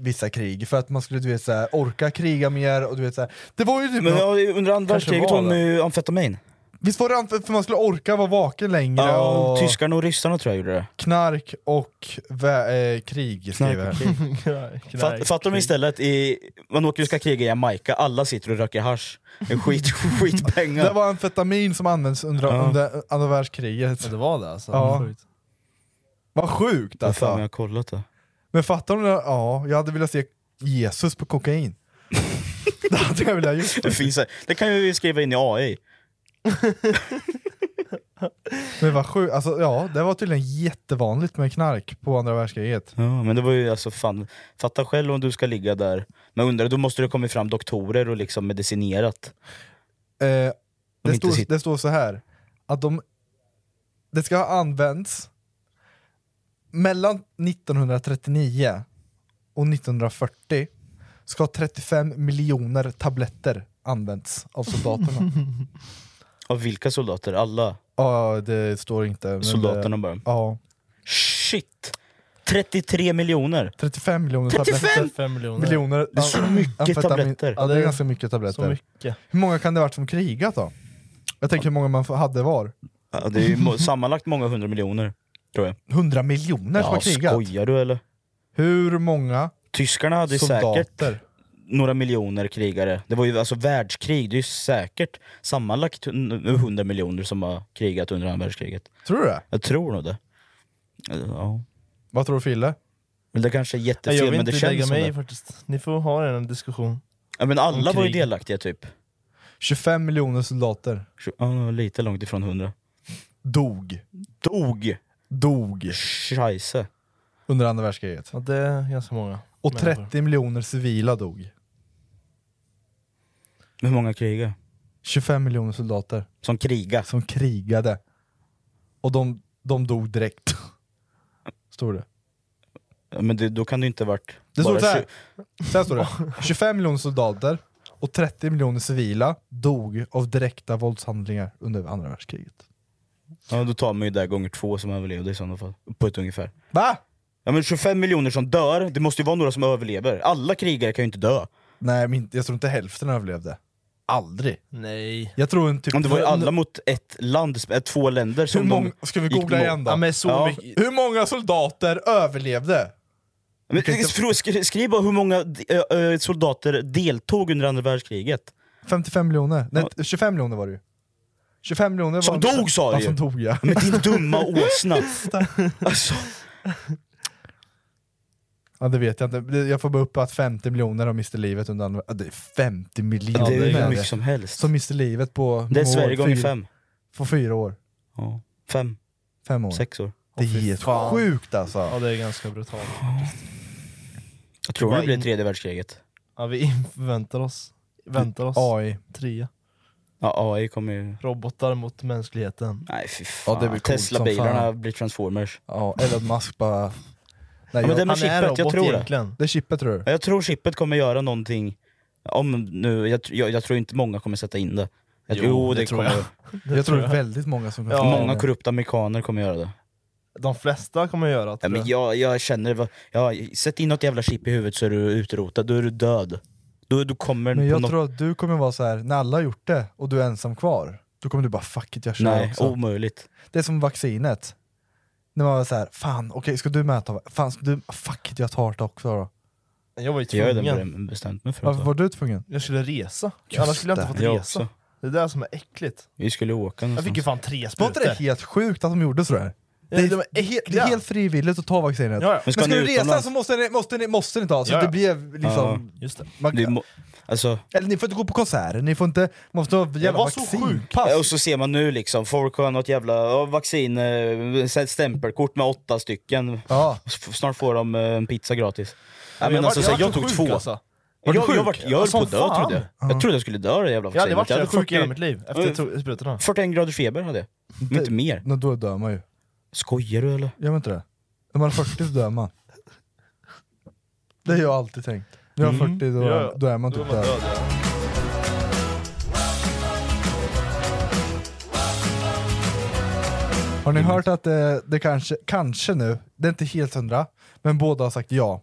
S3: vissa krig, för att man skulle du vet, såhär, orka kriga mer och du vet såhär. Det var ju typ,
S2: Men ja, under andra
S3: Kanske
S2: världskriget
S3: var
S2: tog de
S3: det.
S2: ju amfetamin.
S3: visst var det an- för för man skulle orka vara vaken längre
S2: Ja,
S3: och
S2: tyskarna och ryssarna tror jag gjorde det.
S3: knark och vä- eh, krig skriver jag.
S2: Fatt, fattar de istället, i, man åker och ska kriga i Jamaica, alla sitter och röker hasch. Det är Skit,
S3: Det
S2: skitpengar.
S3: var amfetamin som användes under,
S2: Ja.
S3: under andra världskriget.
S1: Ja, det var det alltså.
S3: Ja.
S1: Sjukt.
S3: Vad sjukt
S2: Vad fan,
S3: alltså.
S2: jag har kollat det.
S3: Men fattar du? Ja, jag hade velat se Jesus på kokain.
S2: det hade jag velat gjort. Det, finns, det kan ju vi skriva in i AI.
S3: Men vad sjukt, alltså, ja, det var tydligen jättevanligt med knark på andra världskriget.
S2: Ja, men det var ju alltså fan, fatta själv om du ska ligga där. Men undrar, då måste det komma fram doktorer och liksom medicinerat.
S3: Eh,
S2: De
S3: det,
S2: inte
S3: står,
S2: sitter-
S3: det står så här att de, det ska ha använts mellan 1939 och 1940 ska 35 miljoner tabletter använts av soldaterna.
S2: Av vilka soldater? Alla
S3: Ja, det står inte. men
S2: soldaterna
S3: det,
S2: bara.
S3: Ja.
S2: Shit! 33 miljoner!
S3: 35 miljoner
S2: 35
S3: tabletter.
S1: miljoner.
S2: Det är så
S3: am-
S2: mycket
S3: amfetamin.
S2: tabletter.
S3: Ja, det är ganska mycket tabletter.
S1: Så mycket.
S3: Hur många kan det ha varit som krigat då? Jag tänker hur många man f- hade var.
S2: Ja, det är ju må- sammanlagt många hundra miljoner, tror jag.
S3: 100 miljoner som har
S2: Ja,
S3: krigat?
S2: skojar du eller?
S3: Hur många?
S2: Tyskarna hade ju
S3: Soldater.
S2: säkert några miljoner krigare. Det var ju alltså världskrig, det är ju säkert sammanlagt n- 100 miljoner som har krigat under andra världskriget.
S3: Tror du det?
S2: Jag tror nog det. Ja.
S3: Vad tror du Fille?
S2: Men det kanske är
S1: Nej, jag
S2: jättefel,
S1: vill
S2: men det
S1: inte lägga
S2: känns som
S1: mig i
S2: det.
S1: faktiskt. Ni får ha en diskussion.
S2: Ja, men alla
S1: om
S2: var ju
S1: krig.
S2: delaktiga typ.
S3: 25 miljoner soldater
S2: Ja, lite långt ifrån 100.
S3: dog.
S2: Dog!
S3: Dog.
S2: Scheisse.
S3: Under andra världskriget.
S1: Ja, det är ganska många.
S3: Och
S1: människor.
S3: 30 miljoner civila dog.
S2: Hur många krigare?
S3: 25 miljoner soldater.
S2: Som kriga.
S3: Som krigade. Och de, de dog direkt. Står det.
S2: Ja, Men det, då kan det ju inte ha varit...
S3: Det står
S2: bara
S3: så här.
S2: tju-
S3: Så här står det. 25 miljoner soldater och 30 miljoner civila dog av direkta våldshandlingar under andra världskriget.
S2: Ja, då tar man ju det gånger två som överlevde i sådana fall. På ett ungefär.
S3: Va?
S2: Ja men 25 miljoner som dör, det måste ju vara några som överlever. Alla krigare kan ju inte dö.
S3: Nej, men inte- jag tror inte hälften överlevde. Aldrig.
S1: Nej.
S3: Jag tror en typ...
S2: Om det var ju alla mot ett land, sp- eh, två länder som
S3: Hur många,
S2: de
S3: ska vi
S2: gick
S3: googla
S2: emot.
S3: igen då?
S1: Ja, men så
S2: Ja.
S1: mycket.
S3: Hur många soldater överlevde?
S2: Men, skri- skri- skriv bara hur många eh, eh, soldater deltog under andra världskriget.
S3: 55 miljoner? Nej, 25 miljoner var det ju. 25 miljoner
S2: Som
S3: var
S2: dog, sa
S3: ja,
S2: du ju. Mm.
S3: som dog ja.
S2: Med din dumma åsna. Alltså,
S3: ja. det vet jag inte. Det- Jag får bara upp att 50 miljoner har miste livet under andra... Ja, Det är 50 miljoner!
S2: det är ju hur
S3: människor
S2: mycket som helst.
S3: som miste livet på...
S2: Det är
S3: några år.
S2: Sverige gånger
S3: Fyra-
S2: fem.
S3: På fyra år.
S2: Ja. Fem,
S3: Fem år.
S2: sex år.
S3: Det är helt
S1: fan.
S3: sjukt alltså.
S1: Ja, det är ganska brutalt.
S2: Jag tror det
S1: Vad
S2: blir
S1: in-
S2: tredje världskriget.
S1: Ja, vi väntar oss. Väntar oss.
S3: AI.
S1: Trea.
S2: Ja, AI kommer ju...
S1: Robotar mot mänskligheten.
S2: Nej fy
S3: Ja, det
S2: fan.
S3: blir coolt som
S2: Tesla-bilarna
S3: fan.
S2: blir transformers.
S3: Ja, Elon Musk bara... Nej,
S2: Ja, men det
S3: jag-
S2: med
S1: Han är
S2: chippet, jag
S1: robot
S2: tror det.
S1: egentligen.
S3: Det är chippet tror du?
S2: Ja, Jag tror chippet kommer göra någonting, om nu, jag, tr- jag, jag tror inte många kommer sätta in det. Jag,
S1: Jo, det tror
S2: kommer,
S1: jag.
S3: Jag tror det är väldigt många som
S1: Ja.
S3: säga
S2: Många
S3: det.
S2: korrupta amerikaner kommer göra det.
S1: De flesta kommer göra det.
S2: Ja, men
S1: tror jag.
S2: jag, jag känner, det, ja, sätt in något jävla chip i huvudet så är du utrotad, då är du död. Då, du kommer
S3: Men
S2: på
S3: jag
S2: något...
S3: tror att du kommer vara så här när alla har gjort det och du är ensam kvar, då kommer du bara 'fuck it, jag kör
S2: Nej, oh
S3: också'
S2: omöjligt.
S3: Det är som vaccinet. När man var så här, 'fan, okej ska du mäta? Fan, ska du, fuck it, jag tar det också då'
S1: jag var ju
S2: Jag är
S1: tvungen.
S2: den bestämt mig för att
S3: Varför
S2: ta.
S3: var du tvungen?
S1: Jag skulle resa.
S3: Just
S1: Annars skulle jag
S3: det.
S1: inte fått
S2: Jag
S1: resa.
S2: också.
S1: Det är det som är äckligt.
S2: Vi skulle åka
S1: Jag fick
S2: någonstans.
S1: ju fan tre
S3: Var inte
S1: sprutor.
S3: det helt sjukt att de gjorde sådär?
S1: Ja,
S3: Det är,
S1: de är
S3: det är helt, det
S1: äckliga.
S3: är helt frivilligt att ta vaccinet.
S1: Ja, ja.
S3: Men
S2: Men
S3: ska,
S2: ska ni
S3: du resa
S2: utomlands?
S3: så måste ni, måste ni, måste ni ta, så
S1: Ja,
S3: att det
S1: ja.
S3: blev liksom...
S1: Just det.
S2: Det är
S3: Man,
S2: mo- Alltså,
S3: eller ni får inte gå på konserter, ni får inte... Måste ha
S1: Jag
S3: jävla
S1: var så sjuk.
S3: vaccinpass.
S2: och så ser man nu liksom, folk har något jävla ja, vaccin, eh, stämpelkort med åtta stycken.
S3: Ja.
S2: S- Snart får de eh, en pizza gratis. Ja,
S1: Jag
S2: men
S1: var-
S2: alltså, så här,
S1: var
S2: jag
S1: så
S2: tog
S1: sjuk,
S2: två.
S1: alltså.
S2: Jag,
S1: du
S2: jag,
S1: sjuk?
S2: jag, vart- jag höll på
S1: Som
S2: att dö
S1: fan.
S2: trodde jag. Jag trodde jag skulle dö av det jävla
S1: Jag hade
S2: vaccinet.
S1: varit så
S2: hade
S1: sjuk i hela
S2: 40
S1: mitt liv
S2: Ja,
S1: efter to- sprutorna.
S2: 41 graders feber hade jag. Men inte mer.
S3: Men Då dör man ju.
S2: Skojar du eller?
S3: Gör man inte det? När man är 40 så dör man. Det har jag alltid tänkt. När jag är 40 då,
S1: Ja, ja.
S3: då är man
S1: Då
S3: typ
S1: var man
S3: död.
S1: död, ja.
S3: Har ni hört att det, det kanske, kanske nu, det är inte helt hundra, men båda har sagt ja.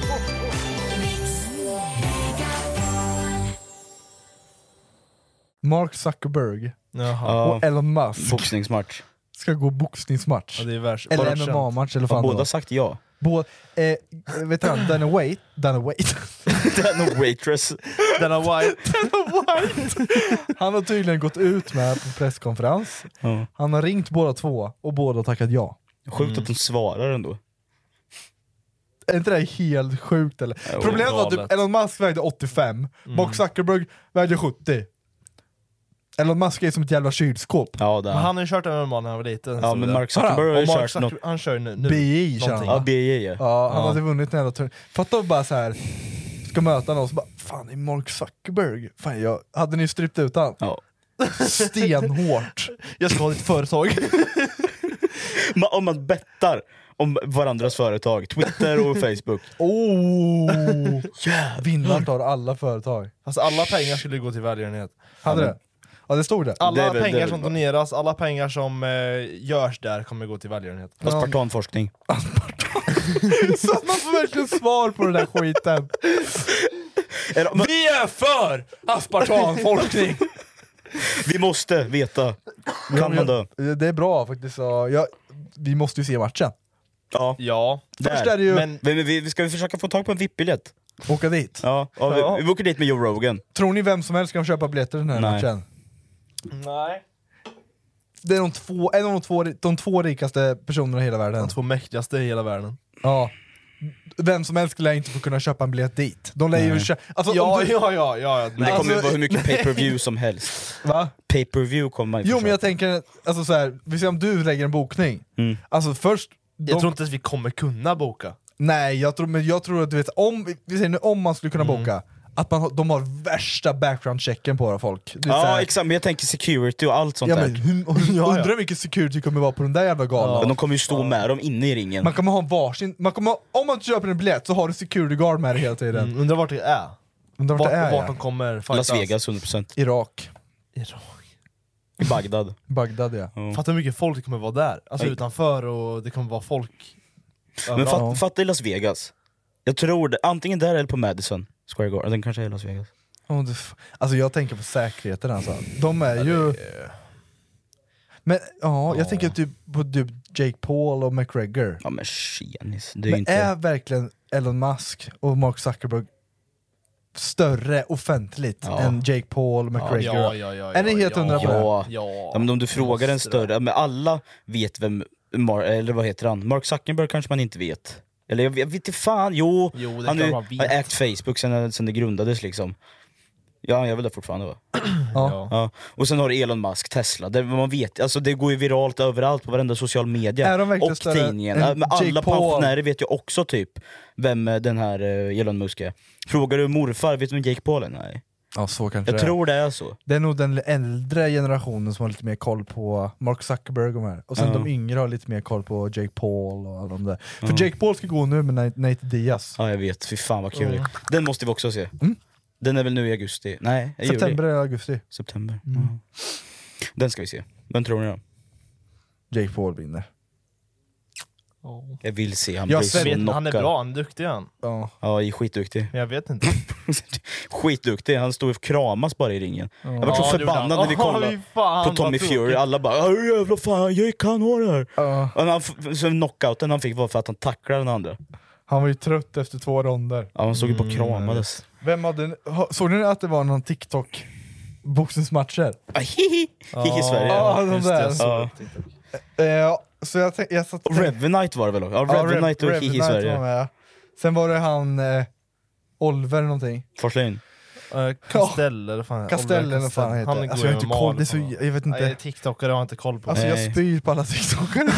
S3: Mark Zuckerberg
S2: Jaha.
S3: och Elon Musk
S2: Boxningsmatch.
S3: ska gå boxningsmatch.
S1: Ja, det är värst.
S3: eller
S1: Bara
S3: MMA-match
S2: Har
S3: eller fan det
S2: båda
S3: var.
S2: sagt ja?
S3: Bå, eh, Vet du vad, Dana White, Dana White,
S2: Den och waitress.
S1: Denna White.
S3: han har tydligen gått ut med på presskonferens,
S2: Ja.
S3: han har ringt båda två och båda har tackat ja.
S2: Sjukt
S1: Mm.
S2: att de svarar ändå.
S3: Är inte det här helt sjukt eller?
S2: Jo,
S3: Problemet var att
S2: galet.
S3: typ Elon Musk vägde 85,
S1: Mm.
S3: Mark Zuckerberg vägde 70. Elon Musk är som ett jävla kylskåp.
S2: Ja, det
S1: Men han har ju kört MMA när han var liten.
S3: Ja,
S1: så
S3: men
S1: det-
S3: Mark Zuckerberg har ju
S1: Och Mark
S3: kört
S1: Zucker-
S3: något-
S1: Han kör nu. nu
S3: BI kör han
S1: någonting.
S3: va?
S2: ja.
S3: Ja, han
S1: Ja.
S3: hade vunnit den jävla turneringen. Fatta att bara så här ska möta någon så bara fan det är Mark Zuckerberg. Fan jag, hade ni strypt ut han?
S2: Ja.
S3: Stenhårt.
S1: Jag ska ha ditt företag.
S2: Ma- om man bettar om varandras företag, Twitter och Facebook.
S3: Oh, vinnaren tar alla företag.
S1: Alltså alla pengar skulle gå till välgörenhet.
S3: Hade det? Ja det stod det.
S1: Alla
S2: Det är väl- det
S1: pengar
S2: är
S1: som
S2: väl bra.
S1: doneras, alla pengar som eh, görs där kommer gå till välgörenhet.
S2: Aspartanforskning.
S3: Så Alltså, att man får verkligen svar på den där skiten.
S2: Eller, men,
S1: Vi är för aspartanforskning!
S2: vi måste veta. Kan man dö?
S3: eh, Det är bra faktiskt. Ja, jag, vi måste ju se matchen.
S2: Ja.
S1: ja.
S3: Först är det ju-
S2: Men, men, vi, vi ska vi försöka få tag på en VIP-biljett?
S3: Åka dit.
S2: Ja, ja, vi,
S1: Ja.
S2: vi åker dit med Joe Rogan.
S3: Tror ni vem som helst kan köpa biljetter till den här
S2: Nej.
S3: matchen?
S1: Nej.
S3: Det är de två, en av de två, de två rikaste personerna i hela världen.
S1: De två mäktigaste i hela världen.
S3: Ja. Vem som helst lär inte få kunna köpa en biljett dit. De lär ju köpa... Alltså, om
S1: Ja,
S3: du,
S1: ja, ja, ja.
S2: Men det
S1: Nej.
S2: kommer ju
S3: Alltså,
S2: vara hur mycket pay-per-view som helst.
S3: va?
S2: Pay-per-view kommer man ju
S3: Jo men
S2: försöka.
S3: jag tänker, alltså så här, vi ser om du lägger en bokning.
S2: Mm.
S3: Alltså först... de-
S1: Jag tror inte att vi kommer kunna boka.
S3: Nej, jag tror, men jag tror att du vet, om, vi säger nu, om man skulle kunna boka, att man, har- de har värsta background-checken på våra folk. Det är så
S2: Ja
S3: här-
S2: exakt, men jag tänker security och allt sånt
S3: ja,
S2: där.
S3: men,
S2: Men,
S3: hur, hur,
S1: Ja, ja.
S3: Undrar vilken security kommer vara på den där jävla galan.
S2: de kommer ju stå med dem inne i ringen.
S3: Man kommer ha varsin, man kommer, ha- om man köper en biljett så har du security guard med dig hela tiden.
S1: Mm, undrar vart det är.
S3: Undrar vart det är?
S1: vart
S3: ja.
S1: de kommer
S2: Las
S1: fightas.
S2: Vegas 100%.
S3: Irak,
S1: Irak.
S2: I Bagdad.
S3: Bagdad ja.
S1: Fattar hur mycket folk det kommer vara där. Alltså
S2: Oj.
S1: utanför och det kommer vara folk
S2: Men fat,
S1: överallt.
S2: fatta i Las Vegas. Jag tror det, antingen där eller på Madison Square Garden. Den kanske är i Las Vegas.
S3: Åh, du f- Alltså jag tänker på säkerheten alltså. De är ju... Men ja, jag tänker typ på typ Jake Paul och McGregor.
S2: Ja men tjenis. Det är ju
S3: Men
S2: inte...
S3: är verkligen Elon Musk och Mark Zuckerberg större offentligt
S2: Ja.
S3: än Jake Paul och McGregor?
S1: Ja, ja, ja,
S3: Är ni
S1: ja,
S3: helt
S1: ja.
S3: hundra på det?
S2: Ja.
S1: Ja.
S2: ja men om du frågar en större, men alla vet vem, Mar eller vad heter han? Mark Zuckerberg kanske man inte vet. Eller jag vet, jag vet inte fan, jo,
S1: Jo, det
S2: han
S1: kan
S2: ju-
S1: man vet.
S2: har ägt Facebook sen, sen det grundades liksom. Ja han gör väl det fortfarande va?
S3: Ja.
S2: Ja. Och sen har du Elon Musk, Tesla, det, man vet, alltså det går ju viralt överallt på varenda social media.
S3: Är de verkligen
S2: och
S3: större
S2: tidningen.
S3: än
S2: Ja, men
S3: Jake
S2: alla
S3: Paul?
S2: pensionärer vet ju också typ vem eh, den här eh, Elon Musk är. Frågar du morfar, vet du vem Jake Paul är? Nej.
S3: Ja, så kanske
S2: Jag
S3: det är.
S2: tror det är så.
S3: Det är nog den äldre generationen som har lite mer koll på Mark Zuckerberg och de här. Och sen
S2: Ja.
S3: de yngre har lite mer koll på Jake Paul och alla de där. För Jake Paul ska gå nu med Nate- Nate Diaz.
S2: Ja jag vet, fy fan vad kul. Den måste vi också se.
S1: Mm.
S2: Den är väl nu i augusti? Nej, i
S3: September
S2: juli.
S3: eller augusti.
S2: September.
S1: Mm.
S2: Ja. Den ska vi se. Vem tror ni då?
S3: Jake Paul vinner.
S2: Jag vill se han
S3: Jag
S2: bli
S3: ser-
S2: så
S1: Vet ni, han är
S2: knockad.
S1: bra, han är duktig han.
S3: Ja.
S2: Ja, han är skitduktig.
S1: Men jag vet inte.
S2: skitduktig, han stod och kramas bara i ringen. Jag var så
S1: Ja, det gjorde
S2: förbannad
S1: han.
S2: när vi
S1: Ja, fy
S2: kollade
S1: fan,
S2: på Tommy
S1: vad
S2: Fury,
S1: tråkigt.
S2: alla bara "Åh, jävla fan, Jake han har det här.
S3: Ja.
S2: Och han, f- så knockouten han fick var för att han tacklade den andra.
S3: Han var ju trött efter två ronder.
S2: Ja, han stod ju på
S1: Mm.
S2: och kramades.
S3: Vem hade, ha- såg ni att det var någon TikTok boxningsmatcher?
S2: Ah, Hihi! Hihi Sverige.
S3: Ja, de
S1: Just det,
S3: där.
S1: jag såg
S2: Ja.
S1: det.
S3: Eh, så jag, tänk- jag satt
S2: Och Revenite var det väl också? Ja,
S3: Ja,
S2: Revenite och
S3: Rev-
S2: Hihi
S3: Revenite var
S2: Sverige.
S3: med. Sen var det han eh, Oliver någonting.
S2: Forslin.
S1: Eh, Castell eller vad fan
S3: Castell
S1: Oliver
S3: eller vad fan han heter.
S1: Han
S3: Alltså, jag har
S1: går ju
S3: inte
S1: i
S3: koll,
S1: mål
S3: det är så-
S1: på-
S3: jag vet inte.
S1: Nej, tiktokare har jag inte koll på.
S3: Alltså
S2: Nej.
S3: jag spyr på alla TikTokare.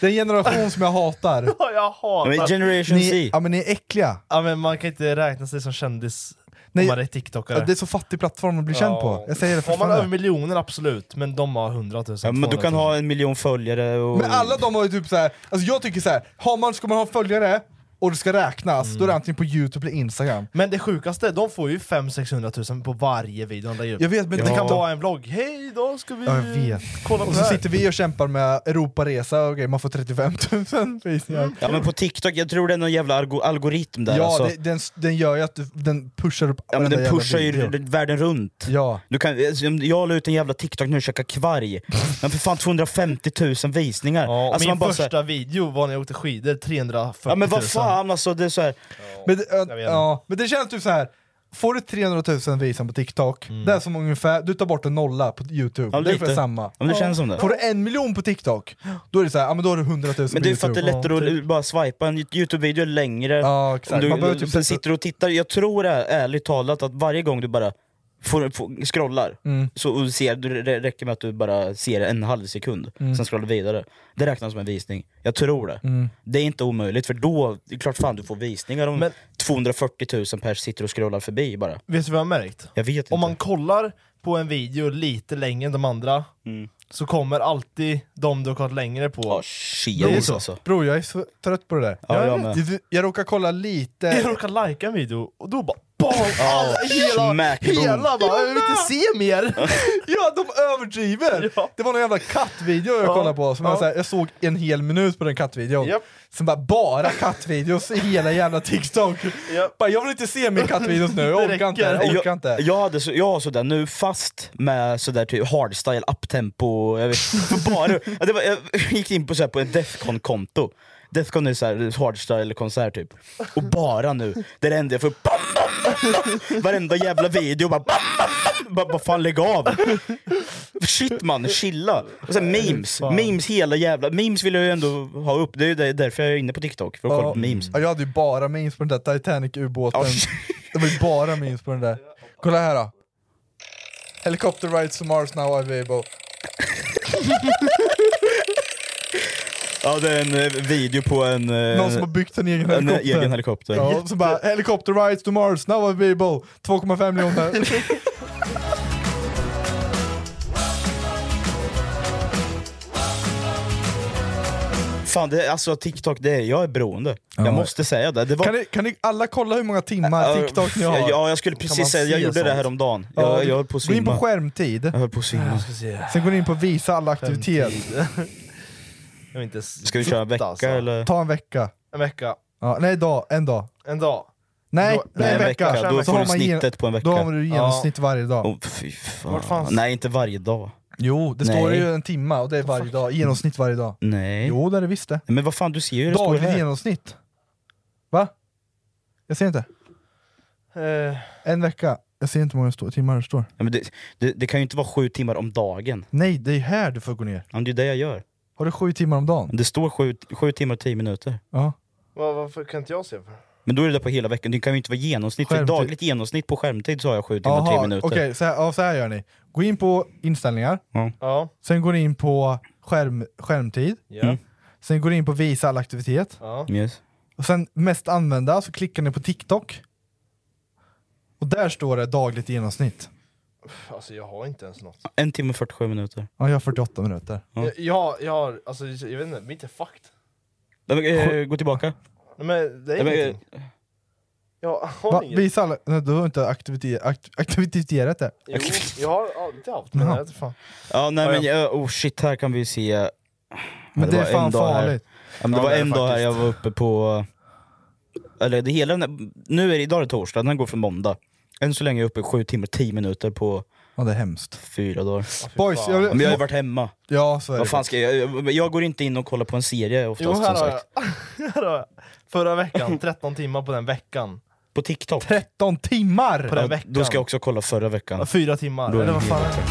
S3: det är en generation som jag hatar.
S1: jag
S2: Men
S1: hatar!
S2: Generation
S3: Ni,
S2: Z.
S3: ja men ni är äckliga.
S1: Ja, men man kan inte räkna sig som kändis
S3: Nej,
S1: om man är tiktokare.
S3: Ja, Det är så fattig plattform att bli känd på. Jag säger det
S1: Har man över
S3: fortfarande.
S1: miljoner, absolut, men de har 100 000,
S2: Ja, men du kan ha en miljon följare och...
S3: Men alla de har ju typ såhär, alltså jag tycker såhär, har man, ska man ha följare och det ska räknas, då är
S2: Mm.
S3: det antingen på youtube eller instagram.
S1: Men det sjukaste, de får ju 500-600 000 på varje video de lägger upp.
S3: Jag vet, men
S1: det
S3: det-
S1: kan vara en vlogg, hej då ska vi...
S3: Ja, jag vet.
S1: Kolla på
S3: och
S1: det
S3: så
S1: här.
S3: sitter vi och kämpar med Europaresa, okej man får 35 000 visningar.
S2: Ja men på TikTok, jag tror det är någon jävla algo- algoritm där
S3: ja,
S2: Mm. alltså.
S3: det, den, den gör ju att du, den pushar upp
S2: Ja men
S3: varenda
S2: den
S3: jävla
S2: pushar ju
S3: video.
S2: r- världen runt.
S3: Ja.
S2: Du kan, alltså, om jag la ut en jävla TikTok nu och käkade kvarg. Den för fan 250 000 visningar.
S1: Ja,
S2: alltså,
S1: min
S2: man bara så
S1: första
S2: här-
S1: video var när jag åkte skidor, 340 000.
S2: Ja men vad fan alltså, det är så här.
S3: Men, det- äh, ja, men det känns typ så här. får du 300 000 visningar på TikTok, det är som ungefär, du tar bort en nolla på youtube,
S2: Mm. Ja,
S3: det är
S2: lite.
S3: ungefär samma.
S2: Ja, men det känns som det.
S3: Får du en miljon på TikTok, då är det så här, ja, men då har du 100 000
S2: Men
S3: på
S2: det är för att det är
S3: YouTube.
S2: lättare att bara swipa en Youtube-video längre.
S3: Ja, exakt.
S2: Om Du,
S3: Man behöver typ
S2: sen
S3: sitta-
S2: sitter du och tittar, jag tror är, ärligt talat att varje gång du bara får, får, scrollar,
S3: Mm.
S2: så och du ser, du, det räcker med att du bara ser en halv sekund,
S3: Mm.
S2: sen scrollar du vidare. Det räknas som en visning, jag tror det.
S3: Mm.
S2: Det är inte omöjligt, för då, det är klart fan du får visningar om 240 000 pers sitter och scrollar förbi bara.
S1: typ. Vet du vad jag har märkt?
S2: Jag vet inte.
S1: Om man kollar på en video lite längre än de andra, så kommer alltid de du har kollat längre på. Oh,
S2: shit, alltså.
S1: det
S3: Bror,
S1: är så.
S3: Bror jag är så trött på det där.
S1: Ja, jag
S3: jag,
S1: med.
S3: jag, råkar kolla lite...
S1: Jag råkar likea en video, och då bara BAM! Alla, hela,
S3: smack, boom.
S1: hela bara, jag vill inte se mer!
S3: ja, de överdriver! Det var någon jävla kattvideo jag kollade på, som jag, så här, jag såg en hel minut på den kattvideon. Sen bara, bara kattvideos i hela jävla TikTok. Bara, jag vill inte se mer kattvideos nu, jag orkar inte. Jag orkar inte.
S2: Jag, jag, hade så, jag har sådär nu, fast med sådär typ hardstyle, uptempo, jag vet för bara, ja, det var, Jag gick in på, såhär, på ett Defcon-konto, Defcon är såhär hardstyle-konsert typ, och bara nu, det är det enda jag får upp, bam, bam, bam, varenda jävla video bara bam, bam, bam, bara, vad fan lägg av! Shit man, chilla! Och sen memes, memes hela jävla, memes vill jag ju ändå ha upp, det är ju där- därför jag är inne på TikTok, för att kolla på memes.
S3: Ja, jag hade ju bara memes på den där Titanic-ubåten. det var ju bara memes på den där. Kolla här då. Helicopter rides to Mars now available.
S2: Ja det är en eh, video på en... eh,
S3: Någon som har byggt en
S2: en
S3: egen helikopter.
S2: egen helikopter.
S3: Ja, så bara helikopter rides to Mars now available. 2,5 miljoner.
S2: Fan, det, alltså TikTok, det, är- jag är beroende.
S3: Ja.
S2: Jag måste säga det. det var,
S3: kan, ni, kan ni alla kolla hur många timmar TikTok ni har?
S2: Ja, ja, jag skulle
S3: Kan man
S2: precis säga, jag
S3: se
S2: gjorde det
S3: sånt?
S2: häromdagen.
S3: Ja,
S2: Jag,
S3: du-
S2: jag höll på att
S3: Gå in på
S2: svimma.
S3: skärmtid.
S2: Jag höll på att svimma.
S3: Sen går ni in på visa all aktivitet.
S1: Typ. Jag vill inte alltså.
S2: Ska vi köra en vecka eller?
S3: alltså. Ta en vecka.
S1: En vecka,
S3: Ja, nej, dag. En dag.
S1: en dag.
S3: Nej,
S1: Då-
S3: nej, en vecka.
S2: Då
S3: Så
S2: får
S3: har
S2: du
S3: man gen-
S2: snittet på en vecka.
S3: Då har du genomsnitt varje dag.
S2: Åh, fy fan.
S3: Vart fanns-
S2: Nej, inte varje dag.
S3: Jo, det
S2: Nej.
S3: står ju en timma och det är varje dag. Genomsnitt varje dag.
S2: Nej.
S3: Jo, det är det visst det.
S2: Men vad fan, du ser ju hur det står
S3: Dagligt
S2: här.
S3: genomsnitt. Va? Jag ser inte.
S1: Eh,
S3: En vecka. Jag ser inte hur många stå- timmar det står.
S2: Ja, men det, det, det kan ju inte vara sju timmar om dagen.
S3: Nej, det är här du får gå ner.
S2: Ja, men det är det jag gör.
S3: Har du sju timmar om dagen?
S2: Det står sju, sju timmar och tio minuter.
S3: Ja.
S1: vad, varför kan inte jag se?
S2: Men då är det där på hela veckan. Det kan ju inte vara genomsnitt. För
S3: Skärmtid.
S2: dagligt genomsnitt på skärmtid så har jag sju timmar och tio minuter.
S3: okej. så, här- ja, så här gör ni. Gå in på inställningar.
S2: Ja.
S1: Ja.
S3: Sen går ni in på skärm, skärmtid.
S2: Mm.
S1: Ja.
S3: Sen går ni in på visa all aktivitet.
S1: Ja.
S2: Yes.
S3: Och sen mest använda, så klickar ni på TikTok. Och där står det dagligt genomsnitt.
S1: Alltså jag har inte ens något.
S2: En timme och 47 minuter.
S3: Ja, jag har 48 minuter.
S1: Jag, jag, har- jag har, alltså jag vet inte, mitt är fucked.
S2: Nej, men, eh, Gå tillbaka.
S1: Nej, men det
S2: Nej,
S1: är
S2: men, eh,
S1: ingenting. Jag har
S3: Va,
S1: inget.
S3: visa alla... Nej, du har inte aktivite- akt- aktiviterat det.
S1: Jo, jag har alltid haft det.
S3: Jaha.
S1: Jag vet inte fan.
S2: Ja, nej men jag, oh shit, här kan vi se... Ja,
S3: Men det är
S2: var
S3: fan
S2: en dag här.
S3: farligt.
S2: Ja, men det
S3: Ja,
S2: var
S3: det är
S2: en dag här
S3: faktiskt.
S2: jag var uppe på... Eller det hela, den här- nu är det idag är det torsdag, den här går för måndag. Än så länge är jag uppe 7 timmar 10 minuter på
S3: Ja, det är hemskt.
S2: fyra dagar.
S3: Boys, jag,
S2: Ja, men jag har ju varit hemma.
S3: Ja, så är
S2: Vad
S3: det.
S2: fan ska jag, jag, jag går inte in och kollar på en serie
S1: Jo,
S2: oftast
S1: här
S2: som
S1: har,
S2: sagt.
S1: jag. här har jag. Förra veckan, 13 timmar på den veckan.
S2: På TikTok.
S3: 13 timmar!
S1: På den
S2: Ja,
S1: veckan.
S2: då ska jag också kolla förra veckan.
S1: Fyra timmar,
S2: Då är
S1: eller
S2: det
S1: vad fan är det?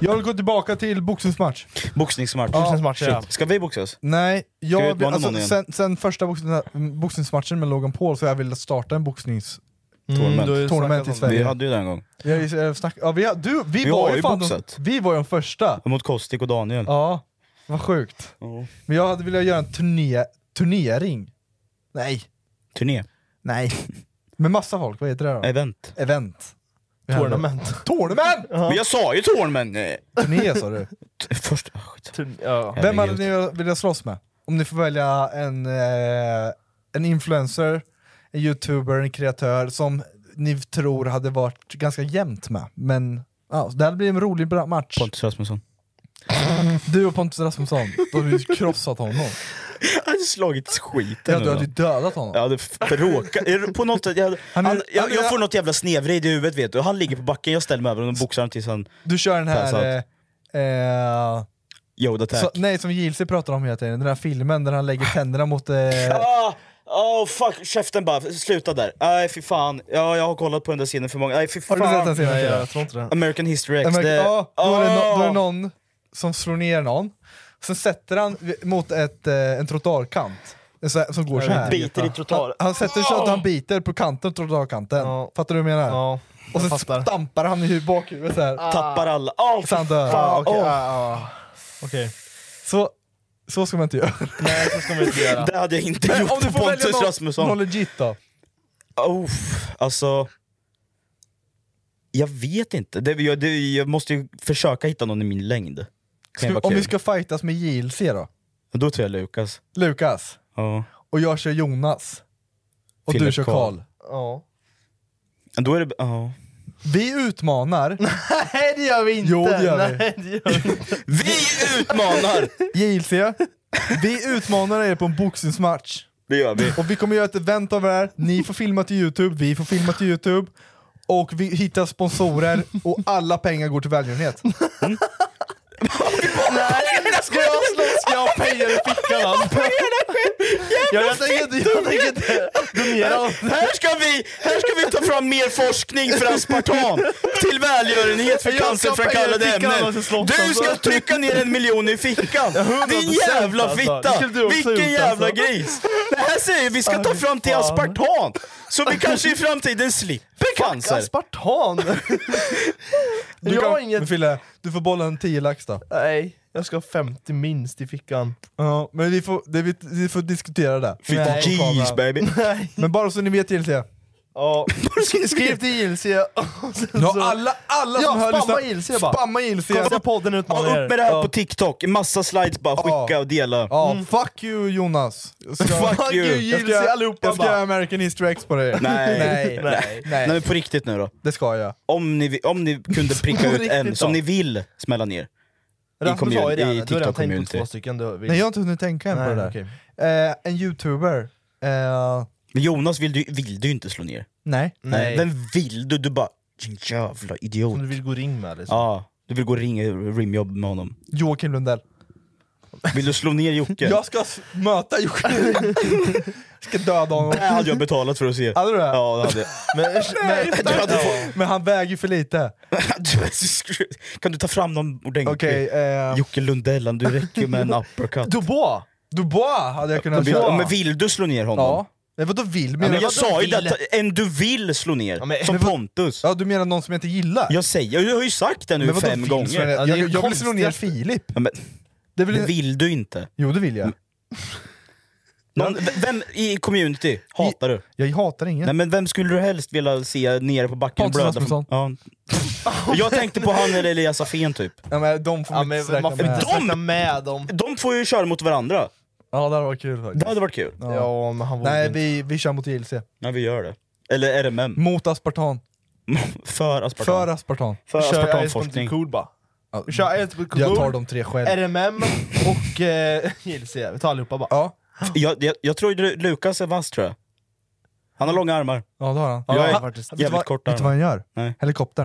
S3: Jag vill gå tillbaka till boxningsmatch.
S2: Boxningsmatch.
S3: Ja, Boxningsmatch,
S2: Shit.
S3: ja.
S2: Ska vi boxas?
S3: Nej,
S2: vi
S3: jag,
S2: utmana
S3: alltså,
S2: någon igen?
S3: sen, sen första boxning, boxningsmatchen med Logan Paul så har jag velat starta en boxnings...
S2: Tournament.
S3: du har ju Tournament snackat i om det.
S2: Vi
S3: Sverige.
S2: hade ju den en gång.
S3: Jag, jag snack, ja, vi, har- du, vi,
S2: Vi
S3: var
S2: har
S3: ju
S2: ju
S3: fan de,
S2: boxat.
S3: Vi var ju de första.
S2: Mot Kostik och Daniel.
S3: Ja, vad sjukt. Men jag hade velat göra en turné, turnering. Nej.
S2: Turné.
S3: Nej. Med massa folk, vad heter det då?
S2: Event.
S3: Event.
S1: Tournament.
S3: Tournament!
S2: Men jag sa ju Tornmen!
S3: Turné sa du.
S2: Först,
S3: ah,
S2: Typ.
S1: ja.
S3: Vem hade ni velat slåss med? Om ni får välja en, eh, en influencer, en youtuber, en kreatör som ni tror hade varit ganska jämnt med. Men ja, så det här blir en rolig bra- match.
S2: Pontus Rasmusson.
S3: Du och Pontus Rasmusson, då hade du krossat honom.
S2: Jag hade slagit skiten
S3: Ja,
S2: ur
S3: du hade ju
S2: honom.
S3: dödat honom.
S2: Jag hade f- råkat, är det på något sätt, jag, hade, han jag, jag får något jävla snedvrid i huvudet vet du, han ligger på backen, jag ställer mig över honom och boxar honom tills han...
S3: Du kör den
S2: passar
S3: här...
S2: out.
S3: Eh, eh,
S2: Yoda attack.
S3: så, nej, som JLC pratar om hela tiden, den här filmen där han lägger tänderna mot... Eh,
S2: Ah, oh fuck, käften bara, sluta där. Nej fy fan, ja, jag har kollat på den där scenen för många, nej fy
S3: Har
S2: fan.
S3: du sett den scenen?
S2: Nej,
S3: Jag tror inte det.
S2: American History X.
S3: Ja, men-
S2: det,
S3: ja, då, är det no, då är
S2: Ah!
S3: det någon som slår ner någon, sen sätter han vi- mot ett, eh, en trottoarkant. En så här- Som går
S2: Ja,
S3: så här.
S2: biter i trottoar.
S3: Han, han sätter så att han biter på kanten, trottoarkanten. Fattar du vad jag menar? och sen stampar han i hu- bakhuvudet så här.
S2: Tappar alla. Oh,
S3: så han dör.
S1: Ah, okej,
S3: Åh.
S1: ah, ah. Okej.
S3: Så, så ska man inte göra.
S1: Nej, så ska man inte göra.
S2: Det hade jag inte
S3: Men
S2: gjort
S3: om du
S2: för
S3: får välja
S2: Pontus
S3: någon-
S2: Rasmusson.
S3: någon legit då?
S2: Oh, alltså... Jag vet inte, det, jag, det, jag måste ju försöka hitta någon i min längd. Kan ju vara
S3: Ska, om vi
S2: kul.
S3: ska fightas med JLC då?
S2: Då tar jag Lukas.
S3: Lukas,
S2: Ja.
S3: och jag kör Jonas. Och du
S2: Philip
S3: kör
S2: Karl.
S3: Karl.
S1: Ja.
S2: Då är det... Ja.
S3: Vi utmanar...
S1: Nej det gör vi inte!
S3: Jo, det gör vi.
S1: Nej, det gör vi. inte.
S2: Vi utmanar!
S3: JLC, vi utmanar er på en boxningsmatch.
S2: Det gör vi.
S3: Och vi kommer göra ett event av det här, ni får filma till Youtube, vi får filma till Youtube. Och vi hittar sponsorer och alla pengar går till välgörenhet.
S1: Nej, ska jag slåss ska jag ha pengar i fickan alltså. Jag, jag tänker inte, jag tänker inte donera allt.
S2: Här ska, vi, här ska vi ta fram mer forskning för aspartam till välgörenhet för
S1: Jag ska
S2: cancerframkallande
S1: peka i fickan
S2: ämnen.
S1: och så slåss
S2: Du ska
S1: alltså.
S2: trycka ner en miljon i fickan! Din
S1: 100%
S2: jävla
S1: alltså.
S2: fitta!
S1: Det skulle du också
S2: Vilken
S1: gjort,
S2: jävla
S1: alltså.
S2: gris! Det här säger vi ska ta fram till aspartam, så vi kanske i framtiden slipper cancer.
S1: Aspartan!
S3: Du
S1: jag har
S3: kan,
S1: inget...
S3: men Fille, du får bolla en 10 lax då.
S1: Nej, jag ska ha 50 minst i fickan.
S3: Ja, men vi får, det, vi, vi får diskutera det.
S2: 50
S3: Nej.
S2: G's baby.
S1: Nej.
S3: Men bara så ni vet JLC,
S1: Ja. Skriv till JLC. och sen
S3: nu har
S1: så-
S3: alla, alla
S1: Ja,
S3: som hör
S1: spamma
S3: lyssnar-
S1: JLC bara.
S3: Spamma JLC!
S1: Kolla podden
S2: Ja,
S1: utmanar
S2: upp
S1: er.
S2: med det här
S1: Ja.
S2: på TikTok, massa slides bara skicka och dela.
S3: Ja, fuck you Jonas! Jag ska-
S2: Fuck you!
S3: Jag
S1: JLC
S3: ska,
S1: allihopa
S3: jag ska
S1: bara.
S3: göra American History X på dig.
S2: Nej.
S3: Nej.
S1: Nej.
S2: Nej men på riktigt nu då.
S3: Det ska jag.
S2: Om ni, om ni kunde pricka ut
S1: riktigt
S2: en som
S1: då.
S2: ni vill smälla ner.
S1: Rasmus har
S2: community-
S1: ju redan,
S2: i
S1: du har redan tänkt på
S2: TikTok-community.
S1: två stycken. Du, vill-
S3: Nej jag har inte hunnit tänka än på det
S1: Nej,
S3: där.
S1: okej.
S3: Eh, en youtuber, eh,
S2: Men Jonas vill du, vill du inte slå ner.
S3: nej.
S1: Nej.
S2: Vem vill du? Du bara, din jävla idiot.
S1: Som du vill gå ring med liksom.
S2: Ja, du vill gå och ringa rimjobb med honom.
S3: Joakim Lundell.
S2: Vill du slå ner Jocke?
S3: Jag ska s- möta Joakim Lundell. ska döda honom.
S2: Det hade jag betalat för att se.
S3: Hade du det?
S2: Ja, det hade jag.
S1: Men, men,
S2: Du hade fått-
S3: Men han väger ju för lite.
S2: Du är så skru- kan du ta fram någon ordentlig?
S3: Okej, eh,
S2: Jocke Lundell, du räcker ju med en uppercut.
S1: Dubois!
S3: Dubois hade jag kunnat
S2: Vill-
S3: köra.
S2: ja, men vill du slå ner honom?
S3: ja. Nej, vadå vill?
S2: Men
S3: Menar
S2: jag
S3: du-
S2: sa ju
S1: vill?
S2: detta, en du vill slå ner,
S1: men-
S2: som
S1: men vad-
S2: Pontus.
S3: ja, du menar någon som jag inte gillar?
S2: Jag säger, jag har ju sagt det nu
S3: men vadå
S2: fem
S3: vill?
S2: gånger.
S3: Jag,
S1: det är
S3: jag,
S1: ju
S3: jag vill slå ner
S1: konstigt.
S3: Filip.
S2: Ja, men,
S3: Det
S2: det
S3: vill,
S2: vill Mm. du inte.
S3: Jo det vill jag.
S2: Någon, v- vem i community hatar du?
S3: Jag hatar ingen.
S2: Nej men vem skulle du helst vilja se nere på backen
S3: Pontus
S2: blöda?
S3: Rasmusson.
S2: Ja. Jag tänkte på han eller Elias Afén typ.
S3: ja, men de får
S1: Ja,
S3: man
S1: men
S3: inte räkna
S1: man får
S3: med.
S1: inte
S2: De-
S1: snacka med dem.
S2: De får ju köra mot varandra.
S3: Ja det hade varit kul faktiskt.
S2: Det hade varit kul.
S3: Ja.
S1: Ja, men han vågar
S3: Nej
S1: inte.
S3: vi, vi kör mot JLC.
S2: Ja vi gör det. Eller RMM.
S3: Mot aspartan.
S2: För aspartam.
S3: För
S2: För,
S3: aspartan.
S1: Kör
S2: aspartamforskning.
S1: Cool bara.
S3: Ja,
S1: Kör Airsport
S3: jag tar
S1: Cool,
S3: de tre själv.
S1: RMM och eh, JLC. Vi tar allihopa bara.
S3: Ja,
S2: Jag, jag, jag tror ju Lukas är vass tror jag. Han har långa armar.
S3: ja det har han.
S2: Jag är
S3: han,
S1: faktiskt
S3: vet, du
S2: jävligt
S3: vad,
S2: kort
S3: vet du vad
S2: armar.
S3: han gör?
S2: Nej.
S3: Helikopter.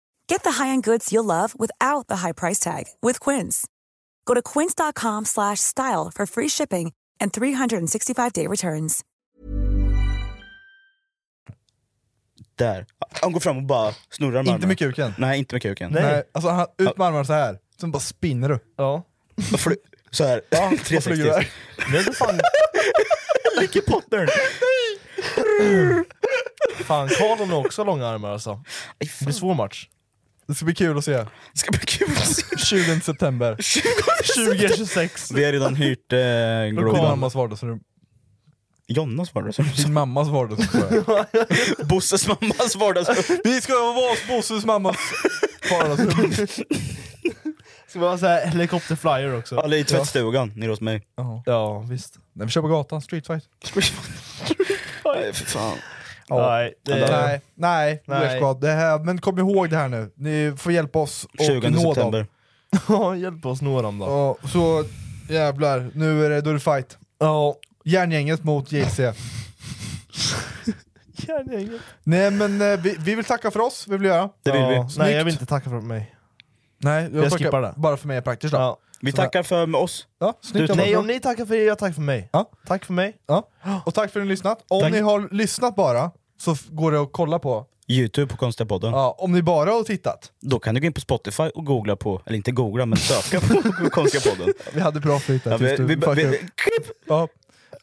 S13: Get the high-end goods you'll love without the high price tag with Quince. Go to quince.com/style slash style for free shipping and 365-day returns.
S2: Där. Han går fram och bara snurrar med
S3: Inte
S2: armarna.
S3: med kuken?
S2: Nej, inte med kuken.
S3: Nej. alltså han, ut med armarna så här. sen bara spinner du.
S1: Ja.
S2: Så här. Ja, 360.
S3: flyger iväg.
S1: Det är fan...
S2: Ricky Potter!
S1: Fan, Karl har nog också långa armar alltså. Det blir svår match.
S3: Det ska bli kul att se.
S2: Det ska bli kul att se.
S3: 20 september.
S1: 2026.
S2: Vi har redan hyrt eh, Globen.
S3: Din mammas vardagsrum.
S2: Jonnas vardagsrum?
S3: Din mammas vardagsrum.
S2: Bosses mammas vardagsrum.
S3: Vi ska vara hos Bosses mammas vardagsrum.
S1: Ska vi ha så här helikopterflyer också?
S2: Alla i tvättstugan nere hos mig.
S1: Ja, visst.
S3: Nej, vi kör på gatan, street fight.
S2: Nej, för fan.
S3: Ja.
S1: Nej, det-
S3: nej, nej,
S1: Nej.
S3: Weird Squad. Det här, men kom ihåg det här nu. Ni får hjälpa oss och
S2: 20
S3: nå
S2: september.
S3: dem.
S1: Ja, hjälp oss nå dem då.
S3: Ja, så jävlar, nu är det, då är det fight.
S1: Ja.
S3: Järngänget mot JC.
S1: Järngänget.
S3: nej men eh, vi, vi vill tacka för oss, vi vill göra.
S2: Det vill vi.
S3: Snyggt.
S1: Nej, jag vill inte tacka för mig.
S3: Nej, jag,
S1: Jag
S3: tackar
S1: skippar det.
S3: Bara för mig är praktiskt då.
S1: Ja.
S2: Vi
S3: Så
S2: tackar för med oss.
S3: Ja, snyggt jobbat.
S1: Nej, om ni tackar för er, jag tackar för mig.
S3: Ja.
S1: Tack för mig.
S3: Ja. Och tack för att ni har lyssnat. Om
S2: Tack.
S3: ni har lyssnat bara, så f- går det att kolla på.
S2: Youtube på Konstiga podden.
S3: Ja, om ni bara har tittat.
S2: Då kan du gå in på Spotify och googla på, eller inte googla men söka på Konstiga podden.
S3: Vi hade bra flyt där
S2: Ja,
S3: tills
S2: vi-
S3: du
S2: vi-
S3: fuckade
S2: vi-
S3: upp. ja.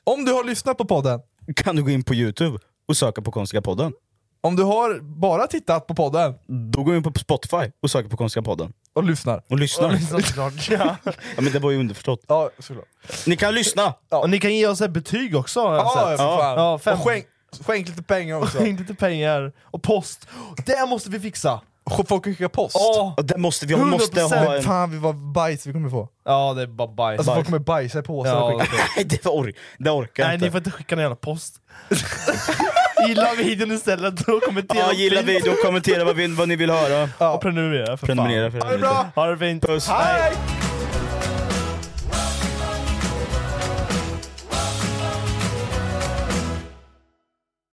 S3: Om du har lyssnat på podden,
S2: Kan du gå in på Youtube och söka på Konstiga podden.
S3: om du har bara tittat på podden
S2: Då går du in på Spotify och söker på Konstiga podden.
S3: och lyssnar.
S2: Och lyssnar.
S1: Såklart. Ja.
S2: Ja, men det var ju underförstått.
S3: Ja, såklart.
S2: Ni kan lyssna!
S1: Och ni kan ge oss ett betyg också har jag
S3: Ja, ja,
S1: sett.
S3: för fan.
S1: Ja, fem.
S3: Och skänk, skänk lite pengar också.
S1: Skänk lite pengar. Och post. Det måste vi fixa!
S3: Folk skickar post.
S1: Ja.
S2: Och Det måste, vi vi måste ha en...
S3: Fan vi var bajs vi kommer få.
S1: Ja, det är bara bajs.
S3: Alltså folk kommer bajsa i påsar
S1: Ja.
S3: och skicka
S2: Nej, det, var ork, det orkar jag
S1: Nej,
S2: inte.
S1: ni får inte skicka någon jävla post. Gilla videon istället och kommentera.
S2: Ja, gilla
S1: fint.
S2: videon, kommentera vad, vi, vad ni vill höra.
S1: Och prenumerera för
S2: Prenumerera
S1: fan.
S2: för
S3: Ha det bra!
S1: Ha det fint.
S2: Puss.
S1: Hej!